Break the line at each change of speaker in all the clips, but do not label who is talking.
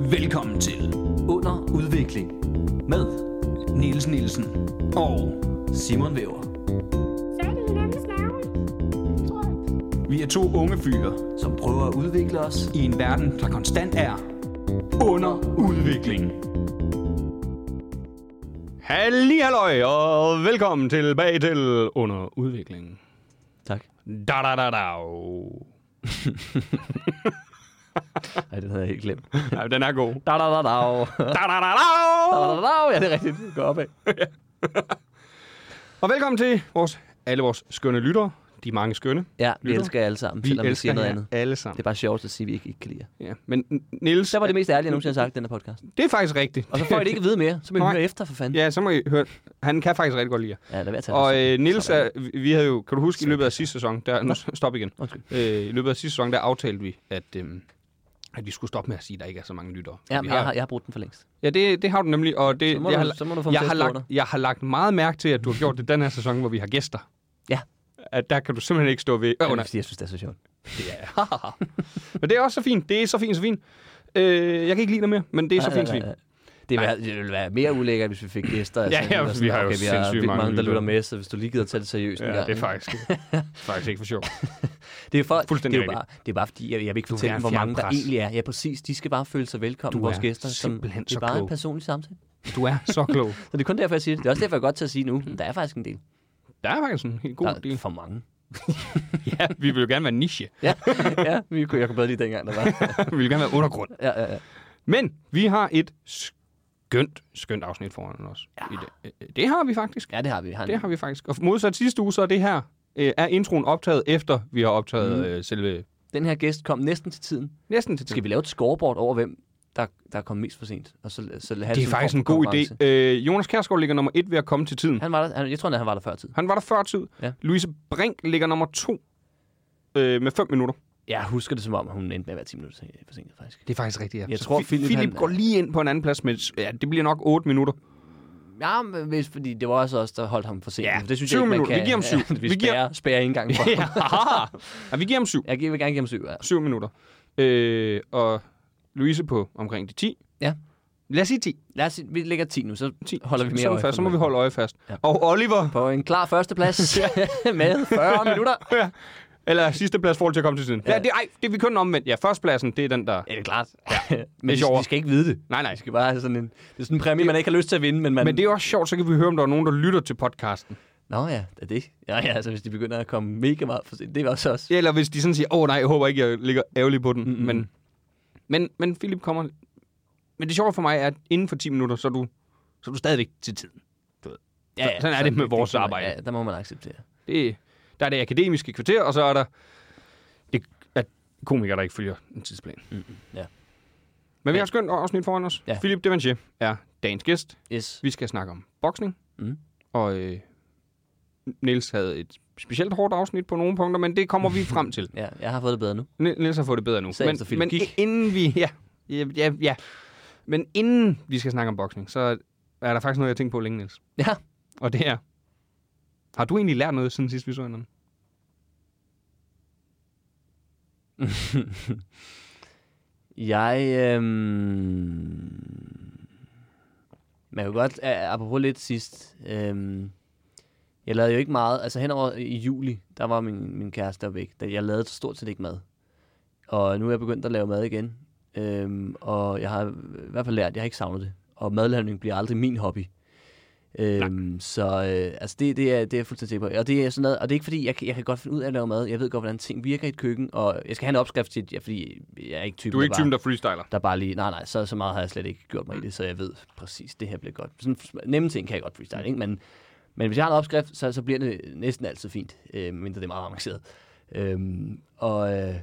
Velkommen til
Under udvikling med
Niels Nielsen og
Simon Væver,
Sagde de hinandens navne? Tror jeg.
vi er to unge fyre
som prøver at udvikle os.
i en verden, der konstant er under udvikling.
Halli halløj, og velkommen tilbage til Under Udviklingen.
Tak.
Da da da da.
Nej, den havde jeg helt glemt.
Nej, den er god.
Da da da da.
Da da da da.
Da da da da. Ja, det er rigtigt. Gå op af.
Og velkommen til vores, alle vores skønne lyttere. De mange skønne.
Ja, vi
Lytter.
elsker jer alle sammen,
Vi
selvom vi
elsker
siger noget
jer
andet.
alle
Det
sammen.
er bare sjovt at sige, at vi ikke, ikke kan lide jer.
Ja, men Nils,
Så var det mest ærlige, jeg nogensinde har sagt i den her podcast.
det er faktisk rigtigt.
Og så får I det ikke at vide mere. Så må I
Nej.
høre efter, for fanden.
Ja, så må I høre. Han kan faktisk rigtig godt lide jer.
Ja, lad være at tage
Og
det.
øh, Nils,
Sådan.
er, vi- vi havde jo, kan du huske, i løbet af sidste sæson, der, nu stop igen.
Undskyld.
Øh, I løbet af sidste sæson, der aftalte vi, at, øh, at vi skulle stoppe med at sige, at der ikke er så mange lyttere.
Ja,
vi
men jeg har, jeg har brugt den for længst.
Ja, det, det har du nemlig, og det,
Så må
jeg,
du-
har,
så må du få dem
jeg,
til at
har
stå
lagt,
under.
jeg har lagt meget mærke til, at du har gjort det den her sæson, hvor vi har gæster.
Ja.
At der kan du simpelthen ikke stå ved.
Ja,
Øh,
det er
nej.
fordi, jeg synes, det er så sjovt.
Men det er også så fint. Det er så fint, så fint. Øh, jeg kan ikke lide dig mere, men det er så fint, så fint.
Det ville, være, det ville være mere ulækkert, hvis vi fik gæster.
Ja, ja,
nu er
vi
sådan,
har jo
okay, vi har
sindssygt
vildt
mange
mange, der
lyttere.
lytter med, så hvis du lige gider tage det seriøst en
Ja,
gang,
det er
ikke?
faktisk, faktisk ikke for sjovt.
Det er, for, det er
Fuldstændig
jo bare, det er bare fordi, jeg, jeg vil ikke
er
fortælle,
en
hvor mange der
fjernpres.
egentlig er. Ja, præcis. De skal bare føle sig velkommen,
Du
vores
er
gæster. Som, det
simpelthen
er
så
bare en
klog.
personlig samtale.
Du er så klog.
Så det er kun derfor, jeg siger det. Det er også derfor, jeg er godt til at sige nu. Men der er faktisk en del.
Der er faktisk en helt god
der er
del.
for mange.
Ja, vi vil jo gerne være niche.
Ja, ja vi kunne, jeg kunne bedre lide dengang, der var.
vi vil gerne være undergrund.
Ja, ja, ja.
Men vi har et skønt, skønt afsnit foran os. Ja. Mm. I dag. Øh, Det har vi faktisk.
ja det har vi. Vi Har en,
Det har vi faktisk. Og modsat sidste uge, så er det her, øh, er introen optaget efter, vi har optaget mm. øh, selve...
Den her gæst kom næsten til tiden.
Næsten til
Skal vi lave et scoreboard over, hvem der, der kom mest for sent? Og så, så have
Det er
sådan
faktisk
form
en
for
god
konkurrence.
idé. Øh, Jonas Kærsgaard ligger nummer et ved at komme til tiden.
Han var der, han, jeg tror, han var der før tid.
Han var der før tid.
Ja.
Louise Brink ligger nummer to øh, med 5 minutter.
Jeg husker det som om, hun endte med at være 10 minutter sen- forsinket, faktisk.
Det er faktisk rigtigt, ja.
Jeg tror, Philip,
Philip
han-
går lige ind på en anden plads med... Ja, det bliver nok 8 minutter.
Ja, men hvis, fordi det var altså også os, der holdt ham for sent.
Ja,
det synes
syv
jeg ikke, man
minutter.
kan.
Vi giver ham syv.
vi,
Vi
vi
giver-
spærer, spærer ikke engang for
Ja,
ham.
haha. ja vi giver ham 7.
Jeg gi- vil gerne give ham syv. Ja.
7 minutter. Øh, og Louise på omkring de 10.
Ja.
Lad os sige 10.
Lad os, sige, vi lægger 10 nu, så
10.
holder vi
Så-
mere
så, er
øje
fast.
for
så må
dem.
vi holde øje fast. Ja. Og Oliver,
På en klar førsteplads med 40 minutter.
Ja. Eller sidste plads forhold til at komme til tiden. Ja,
Ja.
ja det, ej, det er vi kun omvendt. Ja, førstepladsen, det er den, der...
Ja, det er klart. Ja. men
er
de,
sjovere.
de, skal ikke vide det.
Nej, nej.
De skal bare have sådan en, det er sådan en præmie, man ikke har lyst til at vinde, men man...
Men det er også sjovt, så kan vi høre, om der er nogen, der lytter til podcasten.
Nå ja, det er det. Ja, ja, altså hvis de begynder at komme mega meget for sent, det er også os.
Ja, eller hvis de sådan siger, åh oh, nej, jeg håber ikke, jeg ligger ærgerlig på den. Mm-hmm. Men, men, men Philip kommer... Men det sjove for mig er, at inden for 10 minutter, så er du, så er du stadigvæk til tiden.
Ja,
sådan er det med vores
kan man-
arbejde.
Ja, der må man acceptere.
Det, der er det akademiske kvarter, og så er der det, at komikere, der ikke følger en tidsplan. Mm-hmm.
ja.
Men vi har et skønt afsnit foran os.
Ja.
Ja. Philip Devanché er dagens gæst.
Yes.
Vi skal snakke om boksning.
Mm.
Og øh, Niels havde et specielt hårdt afsnit på nogle punkter, men det kommer vi frem til.
Ja, jeg har fået det bedre nu.
Ni- Niels har fået det bedre nu.
Sagen efter Philip
men men
gik.
inden vi... Ja, ja, ja, ja. Men inden vi skal snakke om boksning, så er der faktisk noget, jeg tænkte på længe, Niels.
Ja,
Og det er... Har du egentlig lært noget, siden sidst vi så hinanden?
Jeg, øhm... Man kan godt, a- apropos lidt sidst, øhm... jeg lavede jo ikke meget, altså henover i juli, der var min, min kæreste der væk, da jeg lavede stort set ikke mad. Og nu er jeg begyndt at lave mad igen, øhm, og jeg har i hvert fald lært, jeg har ikke savnet det. Og madlavning bliver aldrig min hobby. Øhm, så øh, altså det, det, er, det er jeg fuldstændig sikker på. Og det er sådan noget, og det er ikke fordi, jeg, kan- jeg kan godt finde ud af at lave mad. Jeg ved godt, hvordan ting virker i et køkken, og jeg skal have en opskrift til, ja, fordi jeg er ikke typen,
Du er ikke
bare-
typen, der freestyler.
der bare lige, nej, nej, så, så meget har jeg slet ikke gjort mig i det, så jeg ved præcis, det her bliver godt. Sådan sm- nemme ting kan jeg godt freestyle, ikke? Men, men hvis jeg har en opskrift, så, så bliver det næsten altid fint, øh, mindre det er meget avanceret. Øhm, og, øh,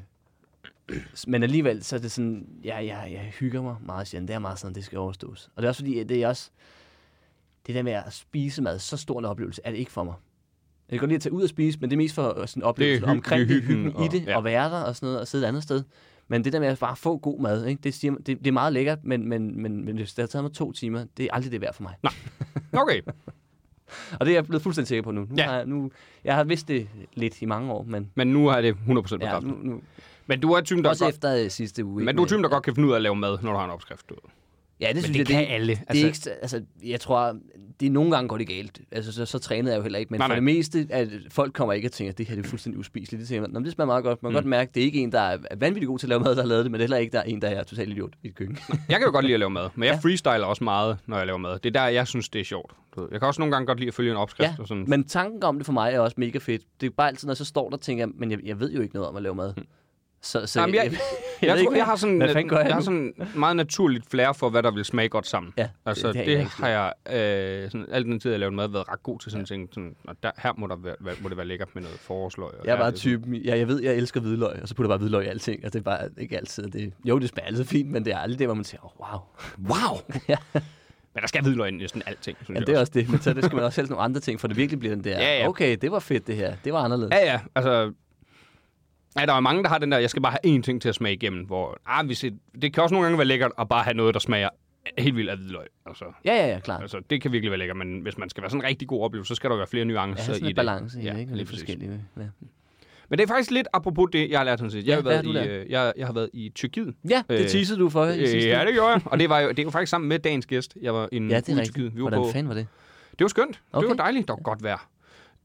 s- men alligevel, så er det sådan, ja, jeg, jeg hygger mig meget sjældent. Det er meget sådan, det skal overstås. Og det er også fordi, at det er også, det der med at spise mad, så stor en oplevelse, er det ikke for mig. Jeg kan godt lide at tage ud og spise, men det er mest for øh, sådan oplevelsen
hy- det
omkring
er
det, hyggen
hyggen
i
og-
det,
ja.
og være der og sådan noget, og sidde et andet sted. Men det der med at bare få god mad, ikke? Det, siger, det, det er meget lækkert, men, men, men, men hvis det har taget mig to timer, det er aldrig det værd for mig. Nej.
Okay.
Og det er jeg blevet fuldstændig sikker på nu. nu,
Ja.
har jeg, nu jeg har vidst det lidt i mange år, men
Men nu er det 100% på
ja,
ja,
nu, nu,
Men du er typen, der,
Også
godt,
efter øh, sidste uge.
men
ikke?
du er typen, der godt kan finde ud af at lave mad, når du har en opskrift. Du. ved.
Ja, det synes
det
jeg,
kan
det,
alle.
Det altså,
Altså-
er ikke, altså, jeg tror, det er nogle gange går det galt. Altså, så, så trænede jeg jo heller ikke. Men
Nej,
nej, for
nej.
det meste, at folk kommer ikke og tænker, at det her det er fuldstændig uspiseligt. Det tænker man, "Nå, men det smager meget godt. Man kan mm. godt mærke, det er ikke en, der er vanvittigt god til at lave mad, der har lavet det, men det er heller ikke, der er en, der er totalt idiot i et køkken.
Jeg kan jo godt lide at lave mad, men jeg freestyler også meget, når jeg laver mad. Det er der, jeg synes, det er sjovt. Du ved. Jeg kan også nogle gange godt lide at følge en opskrift.
ja,
Og sådan.
men tanken om det for mig er også mega fedt. Det er bare altid, når jeg så står der og tænker, men jeg, jeg ved jo ikke noget om at lave mad. Så, så
Mm. Jamen, jeg, jeg, jeg,
ved
tror,
ikke,
jeg har sådan,
hvad fanden
jeg,
gør jeg
jeg har
nu?
sådan meget naturligt flere for, hvad der vil smage godt sammen.
Ja,
altså,
det- det
det,
har
det,
jeg
det
ikke.
har jeg, øh, sådan, al den tid, jeg lavede mad, været ret god til sådan ja. ting. Sådan, og der, her må, der være, være- må det være lækkert med noget forårsløg. og
Jeg er
her
bare
det
typen, jeg, jeg ved, jeg elsker hvidløg, og så putter jeg bare hvidløg i alting, og det er bare ikke altid det. Jo, det smager altid fint, men det er aldrig det, hvor man siger, oh, wow.
Wow! Men der skal hvidløg ind i næsten alting, synes
Ja,
jeg
det er også det, men så det skal man også helst nogle andre ting, for det virkelig bliver den der,
Ja, ja.
okay, det var fedt det her, det var anderledes.
Ja, ja, altså... Ja, der er mange, der har den der, jeg skal bare have én ting til at smage igennem, hvor... Ah, hvis et, det kan også nogle gange være lækkert at bare have noget, der smager helt vildt af hvidløg. Altså,
Ja, ja, ja, klart.
altså, det kan virkelig være lækkert, men hvis man skal være sådan en rigtig god oplevelse, så skal der være flere
Ja,
nuancer i
sådan en
det.
balance i
Ja,
det, ikke? Og
lige
Lidt
præcis.
forskellige. Ja.
Men det er faktisk lidt apropos det, jeg har lært sådan set. Jeg,
Ja,
har,
hvad har
været
du
i,
lært?
øh, jeg, jeg har været i Tyrkiet.
ja, det
Øh,
teasede du for i
Øh,
sidste
ja,
uge.
det gjorde jeg. Og det var jo, det var faktisk sammen med dagens gæst. Jeg var en
Ja, det
uge
er
i
rigtigt.
Tyrkiet. Vi var
Hvordan
på,
fanden var det?
det var skønt.
Okay.
Det var dejligt. Det var godt vejr.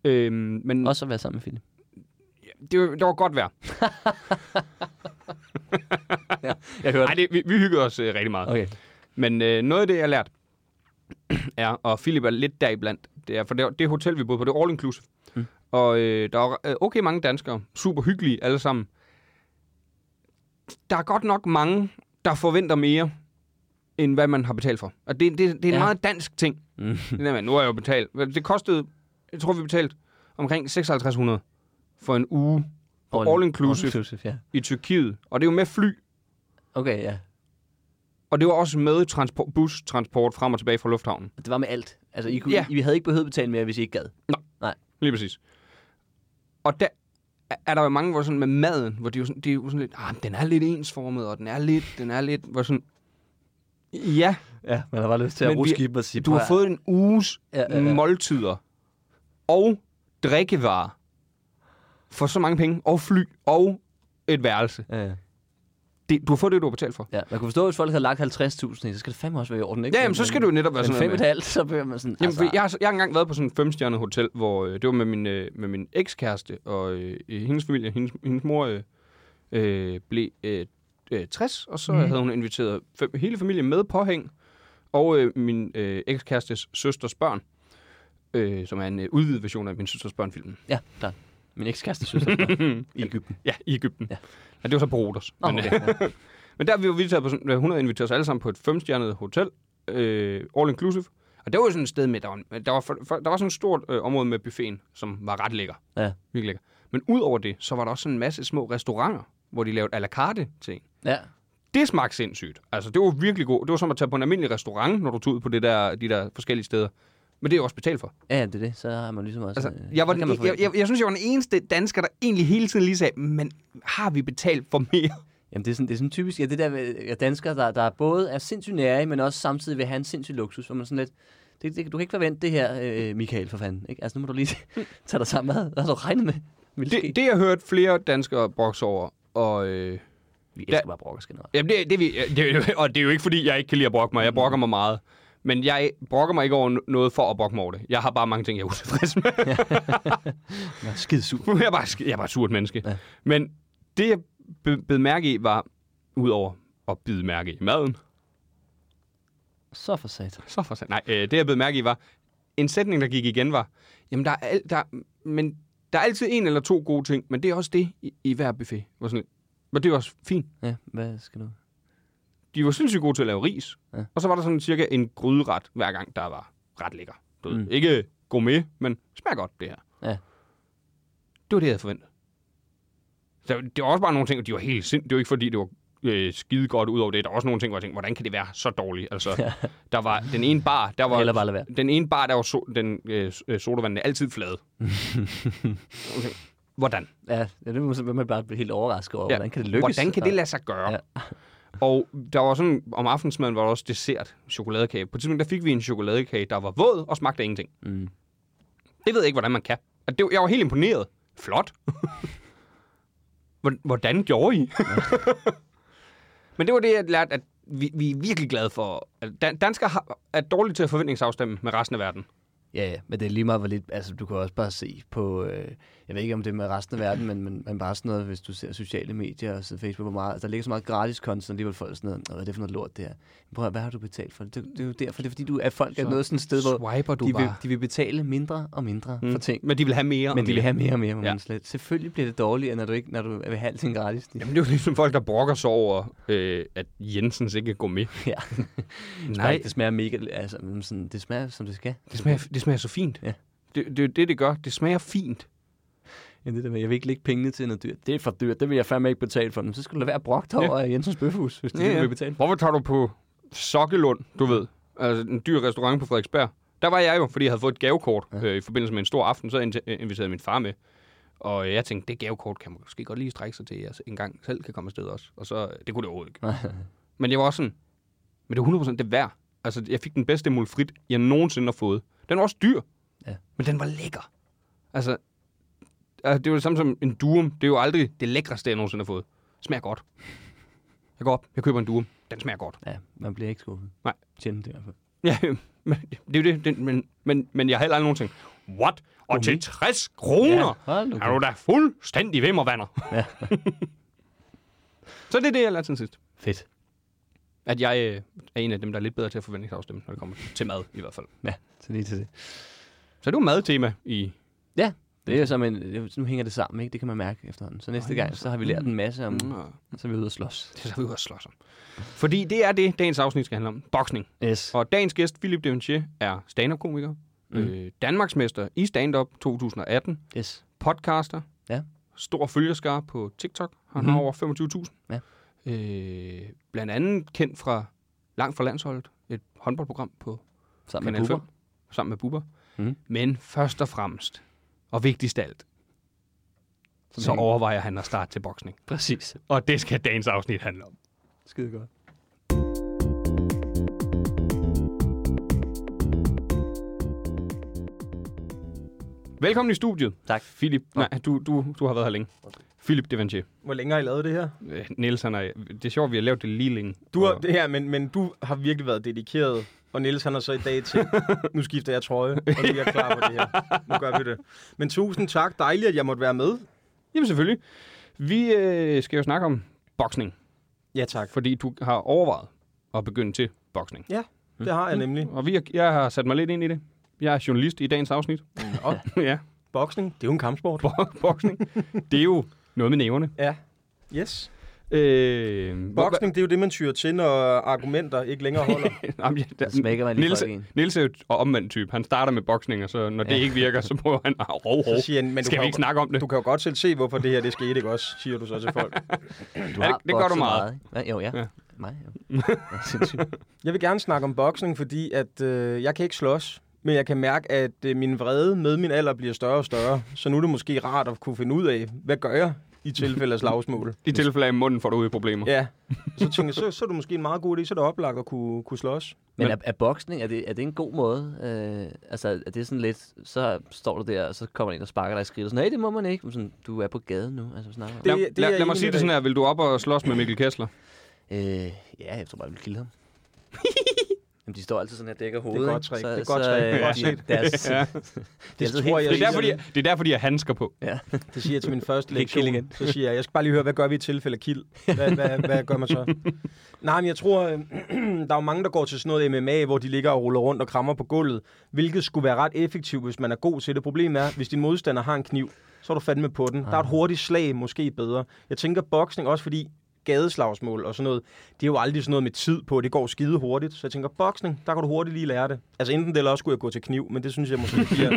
Øhm, men
Også at være sammen med Philip.
det, var- det var godt vejr.
Jeg hørte
Nej, det, vi, vi hyggede os øh, rigtig meget.
Okay.
Men øh, noget af det, jeg har lært, er, og Philip er lidt deriblandt, det er, for det, det hotel, vi boede på, det er all inclusive.
Mm.
Mm. Og øh, der er øh, okay mange danskere, super hyggelige alle sammen. Der er godt nok mange, der forventer mere, end hvad man har betalt for. Og det, det, det er en
Ja.
ja. meget dansk ting.
Mm.
Det der med, nu har jeg jo betalt. Hvad- Det kostede, jeg tror, vi betalte omkring 5600 for en uge på all, all inclusive
All inclusive, ja.
i Tyrkiet. Og det er jo med fly,
Okay, ja.
og det var også med transport, bustransport frem og tilbage fra lufthavnen.
Det var med alt. Altså, I, kunne,
Ja.
I, I havde ikke behøvet betale mere, hvis I ikke gad.
Lige præcis. Og der er- er der jo mange, hvor sådan med maden, hvor de jo sådan, de er jo sådan lidt, ah, den er lidt ensformet, og den er lidt, den er lidt, hvor sådan, ja,
Ja, man har bare lyst til
Men vi-
skibet og sige,
du har
"Prøv
fået en uges
Ja,
ja,
ja,
ja,
ja.
måltider og drikkevarer for så mange penge, og fly, og et værelse.
at-" Ja, ja.
Det, du har fået det, du har betalt for.
ja. Man kunne forstå, hvis folk havde lagt 50.000 i, så skal det fandme også være i orden, ikke?
Ja, jamen, så skal du jo netop være
Men
sådan
fem
noget med.
et halvt, så bliver man sådan...
Jamen, altså... jeg, har, jeg har engang været på sådan et femstjernet hotel, hvor øh, det var med min, øh, med min ekskæreste, og øh, hendes familie, hendes, hendes mor øh, øh, blev øh, øh, 60, og så mm. havde hun inviteret fem, hele familien med påhæng, og øh, min øh, ekskærestes søsters børn, øh, som er en øh, udvidet version af min søsters børn-filmen.
Ja, klart. Min ekskæreste synes, at det var i Ægypten.
Ja, i Ægypten.
Ja.
Ja. ja det var så på Rodos.
Nå,
men,
okay,
øh, men der vi var vi taget på sådan, øh, hun havde inviteret os alle sammen på et femstjernet hotel, øh, all inclusive. Og det var jo sådan et sted med, der var, der var, for, for, der var sådan et stort øh, område med buffeten, som var ret lækker.
Ja.
Virkelig lækker. Men udover det, så var der også sådan en masse små restauranter, hvor de lavede à la carte ting.
Ja.
Det smagte sindssygt. Altså, det var virkelig godt. Det var som at tage på en almindelig restaurant, når du tog ud på det der, de der forskellige steder. Men det er jo også betalt for.
Ja, det er det. Så har man ligesom også...
Altså,
øh,
jeg, var
så
den,
kan man
jeg, jeg,
forvente-
jeg, jeg synes, jeg var den eneste dansker, der egentlig hele tiden lige sagde, men har vi betalt for mere?
Jamen, det er, sådan, det er sådan typisk, ja, det der med, ja, danskere, der, der både er sindssygt nære, men også samtidig vil have en sindssyg luksus, hvor man sådan lidt, det, det, du kan ikke forvente det her, øh, Michael, for fanden. Ikke? Altså, nu må du lige tage dig sammen. Hvad hvad har du regnet med? Vil ske?
Det, det jeg har hørt flere danskere brokse over, og øh,
vi elsker
der-
bare brokkers generelt.
jamen det, det, vi- det, er jo- og det er jo ikke, fordi jeg ikke kan lide at brokke mig. Jeg brokker mig meget. Men jeg brokker mig ikke over no- noget for at brokke mig over det. Jeg har bare mange ting, jeg er utilfreds med.
Jeg er skide sur.
jeg, er bare, sk- jeg er bare et surt menneske.
Ja.
Ja. Men det, jeg be- bed mærke i, var, udover at bide mærke i maden,
Så for satan.
så for sat. Nej, øh, det jeg bed mærke i, var, en sætning, der gik igen, var, jamen der er, al, der, men, der er altid en eller to gode ting, men det er også det i, i hver buffet. Hvor sådan, lidt, men det er jo også fint.
Ja, hvad skal du?
de var sindssygt gode til at lave ris.
Ja.
Ja. Og så var der sådan cirka en gryderet, hver gang der var ret lækker. Du ved,
Mm.
Ikke gourmet, men smager godt, det her. Det
Ja.
var det, jeg havde forventet. Så det var også bare nogle ting, og de var helt sind. Det var ikke, fordi det var øh, skide godt ud over det. Der var også nogle ting, hvor jeg tænkte, hvordan kan det være så dårligt? Altså, der var den ene bar, der var...
Eller bare lade være.
Den ene bar, der var so- den, øh, s- øh, sodavandene altid flade. okay. Hvordan?
Ja, ja, det må man- man bare blive helt overrasket over. Ja. Hvordan kan det lykkes?
Hvordan kan det lade sig gøre?
Ja.
Ja. og der var sådan, om aftensmaden var der også dessert, chokoladekage. På et tidspunkt, der fik vi en chokoladekage, der var våd og smagte af ingenting.
Mm.
Det ved jeg ikke, hvordan man kan. Og det, var- jeg var helt imponeret. Flot. Hvor- Hvordan gjorde I? Men det var det, jeg lærte, at vi, vi er virkelig glade for. At dan- danskere har, er dårlige til at forventningsafstemme med resten af verden.
Ja, ja, men det er lige meget, hvor lidt... Altså, du kan også bare se på... Øh, jeg ved ikke, om det er med resten af verden, men, men, men bare sådan noget, hvis du ser sociale medier og så Facebook, hvor meget... altså, Der ligger så meget gratis content, alligevel folk er sådan noget, "Nå, hvad er det for noget lort, det her? Men Prøv at, høre, hvad har du betalt for det? Det, det er jo derfor, det er fordi, du er folk er noget sådan et sted, hvor
swiper du
de vil,
bare.
de vil betale mindre og mindre mm. for ting.
Men de vil have mere.
Men de vil have mere og mere, må
Ja.
ja. man slet. Selvfølgelig bliver det dårligere, når du, ikke, når du vil have alting gratis.
Jamen, det er jo ligesom folk, der brokker sig over, øh, at Jensens ikke går med.
Ja. Nej. Det smager mega... Altså, mm, sådan, det smager, som det skal.
det smager, det smager så fint.
Ja.
Det, det er jo det, det gør. Det smager fint.
Ja, det der med, jeg vil ikke lægge pengene til noget dyrt. Det er for dyrt, det vil jeg fandme ikke betale for. Men så skal du lade være at brokke dig
Ja.
over Jensens Bøfhus, hvis det er det, du vil betale for.
Hvorfor tager du på Sokkelund, du ved? Altså, en dyr restaurant på Frederiksberg. Der var jeg jo, fordi jeg havde fået et gavekort ja. øh, i forbindelse med en stor aften, så invite- øh, inviterede min far med. Og øh, jeg tænkte, det gavekort kan man måske godt lige strække sig til, at jeg engang selv kan komme afsted også. Og så, øh, det kunne det overhovedet ikke. Men jeg var også sådan, men det er 100% det værd. Altså, jeg fik den bedste mulfrit, jeg nogensinde har fået. Den var også dyr,
Ja.
men den var lækker. Altså, altså, det er jo det samme som en durum. Det er jo aldrig det lækreste, jeg nogensinde har fået. Smager godt. Jeg går op, jeg køber en durum. Den smager godt.
Ja, man bliver ikke skuffet.
Nej.
Sjældent i hvert fald.
Ja, men det er jo det. det men, men, men jeg har heller aldrig nogensinde tænkt, what? Og okay. til 60 kroner?
Ja, hold nu
er du da fuldstændig vimmervander?
Ja.
Så det er det, jeg lærte til sidst.
Fedt.
At jeg øh, er en af dem, der er lidt bedre til at forventningsafstemme, når det kommer til mad i hvert fald.
Ja, så lige til det.
Så det var madtema i...
Ja, det er jo som en, det er jo- nu hænger det sammen, ikke? Det kan man mærke efterhånden. Så næste gang, så har vi lært en masse om, så er vi ude og slås.
Mm. Det er så vi også slås om. Fordi det er det, dagens afsnit skal handle om. Boksning.
Yes.
Og dagens gæst, Philip Devanchier, er stand-up-komiker. Mm. Øh, Danmarksmester i stand-up 2018.
Yes.
Podcaster.
Ja. Mhm.
Stor følgerskare på TikTok. Han har over 25.000.
Ja.
Øh, blandt andet kendt fra Langt fra Landsholdet. Et håndboldprogram på
Sammen med
Kanal 5.
Bubber.
Sammen med Bubber.
Mhm.
Men først og fremmest, og vigtigst af alt,
Som
så
han-
overvejer han at starte til boksning.
Præcis.
Og det skal dagens afsnit handle om.
Skide godt.
Velkommen i studiet.
Tak.
Philip, nej, du, du, du har været her længe. Philip Devanchier.
Hvor længe har I lavet det her?
Øh, Niels, han er, det er sjovt, vi har lavet det lige længe.
Du har,
Og-
det her, men, men du har virkelig været dedikeret, og Niels han har så i dag til, nu skifter jeg trøje, og nu er jeg klar på det her. Nu gør vi det. Men tusind tak, dejligt, at jeg måtte være med.
Jamen selvfølgelig. Vi øh, skal jo snakke om boksning,
Ja tak,
fordi du har overvejet at begynde til boksning.
det har jeg nemlig.
Og vi har, jeg har sat mig lidt ind i det. Jeg er journalist i dagens afsnit.
Og
ja,
boksning, det er jo en kampsport.
bo- boksning. Det er jo noget med næverne.
Ja, yes.
Øh,
Boksning, det er jo det, man tyrer til, når argumenter ikke længere holder.
Jamen, ja, der,
Så smækker man lige
Niels,
folk i en.
Niels er jo et omvendt type. Han starter med boksning, og så når ja. det ikke virker, så prøver han at rov,
Så
rov.
siger han, men du
Skal
kan
vi
jo-
ikke snakke om det?
Du kan jo godt selv se, hvorfor det her det skete, ikke også, siger du så til folk.
Du
Ja,
har
det- det gør du
bokset
meget.
ikke? Ja, jo, ja.
Ja.
ja. Mig, jo. Ja, sindssygt.
Jeg vil gerne snakke om boksning, fordi at øh, jeg kan ikke slås, men jeg kan mærke, at øh, min vrede med min alder bliver større og større. Så nu er det måske rart at kunne finde ud af, hvad gør jeg i tilfælde af slagsmål?
I tilfælde af i munden får du ud i problemer.
Ja, så tænker jeg, så, så er det måske en meget god idé, så er det oplagt at kunne, kunne slås.
Men
Men-
er, er boksning, er det, er det en god måde? Øh, altså, er det sådan lidt, så står du der, og så kommer der en og sparker dig i skridtet. Sådan, nej, det må man ikke. Men Sådan, du er på gaden nu. Altså, hvad snakker du om?
Lad,
Det- det er
lad,
jeg
lad mig
enig
sige det
med dig
sådan her. Vil du op og slås med Mikkel Kessler?
Øh, ja, jeg tror bare, jeg vil kilde ham. Jamen, de står altid sådan her og dækker hovedet.
godt
ikke?
trick,
Så,
det er et
så,
godt trick,
øh,
det er godt
de-
set.
Deres, ja. det er
tror jeg
Det er derfor,
siger
jeg, det er derfor, de har handsker på.
Ja.
Det siger jeg til min første
Lidt kild
lektion.
igen.
Så siger jeg, jeg skal bare lige høre, hvad gør vi i tilfælde af kild? Hvad, hvad, hvad gør man så? Nej, men jeg tror, øh, der er jo mange, der går til sådan noget MMA, hvor de ligger og ruller rundt og krammer på gulvet, hvilket skulle være ret effektivt, hvis man er god til det. Problemet er, hvis din modstander har en kniv, så er du fandme på den. Der
Ah.
er et hurtigt slag måske bedre. Jeg tænker boksning også, fordi gadeslagsmål og sådan noget, det er jo aldrig sådan noget med tid på, det går skide hurtigt. Så jeg tænker, boksning, der kan du hurtigt lige lære det. Altså enten det, eller også skulle jeg gå til kniv, men det synes jeg måske bliver...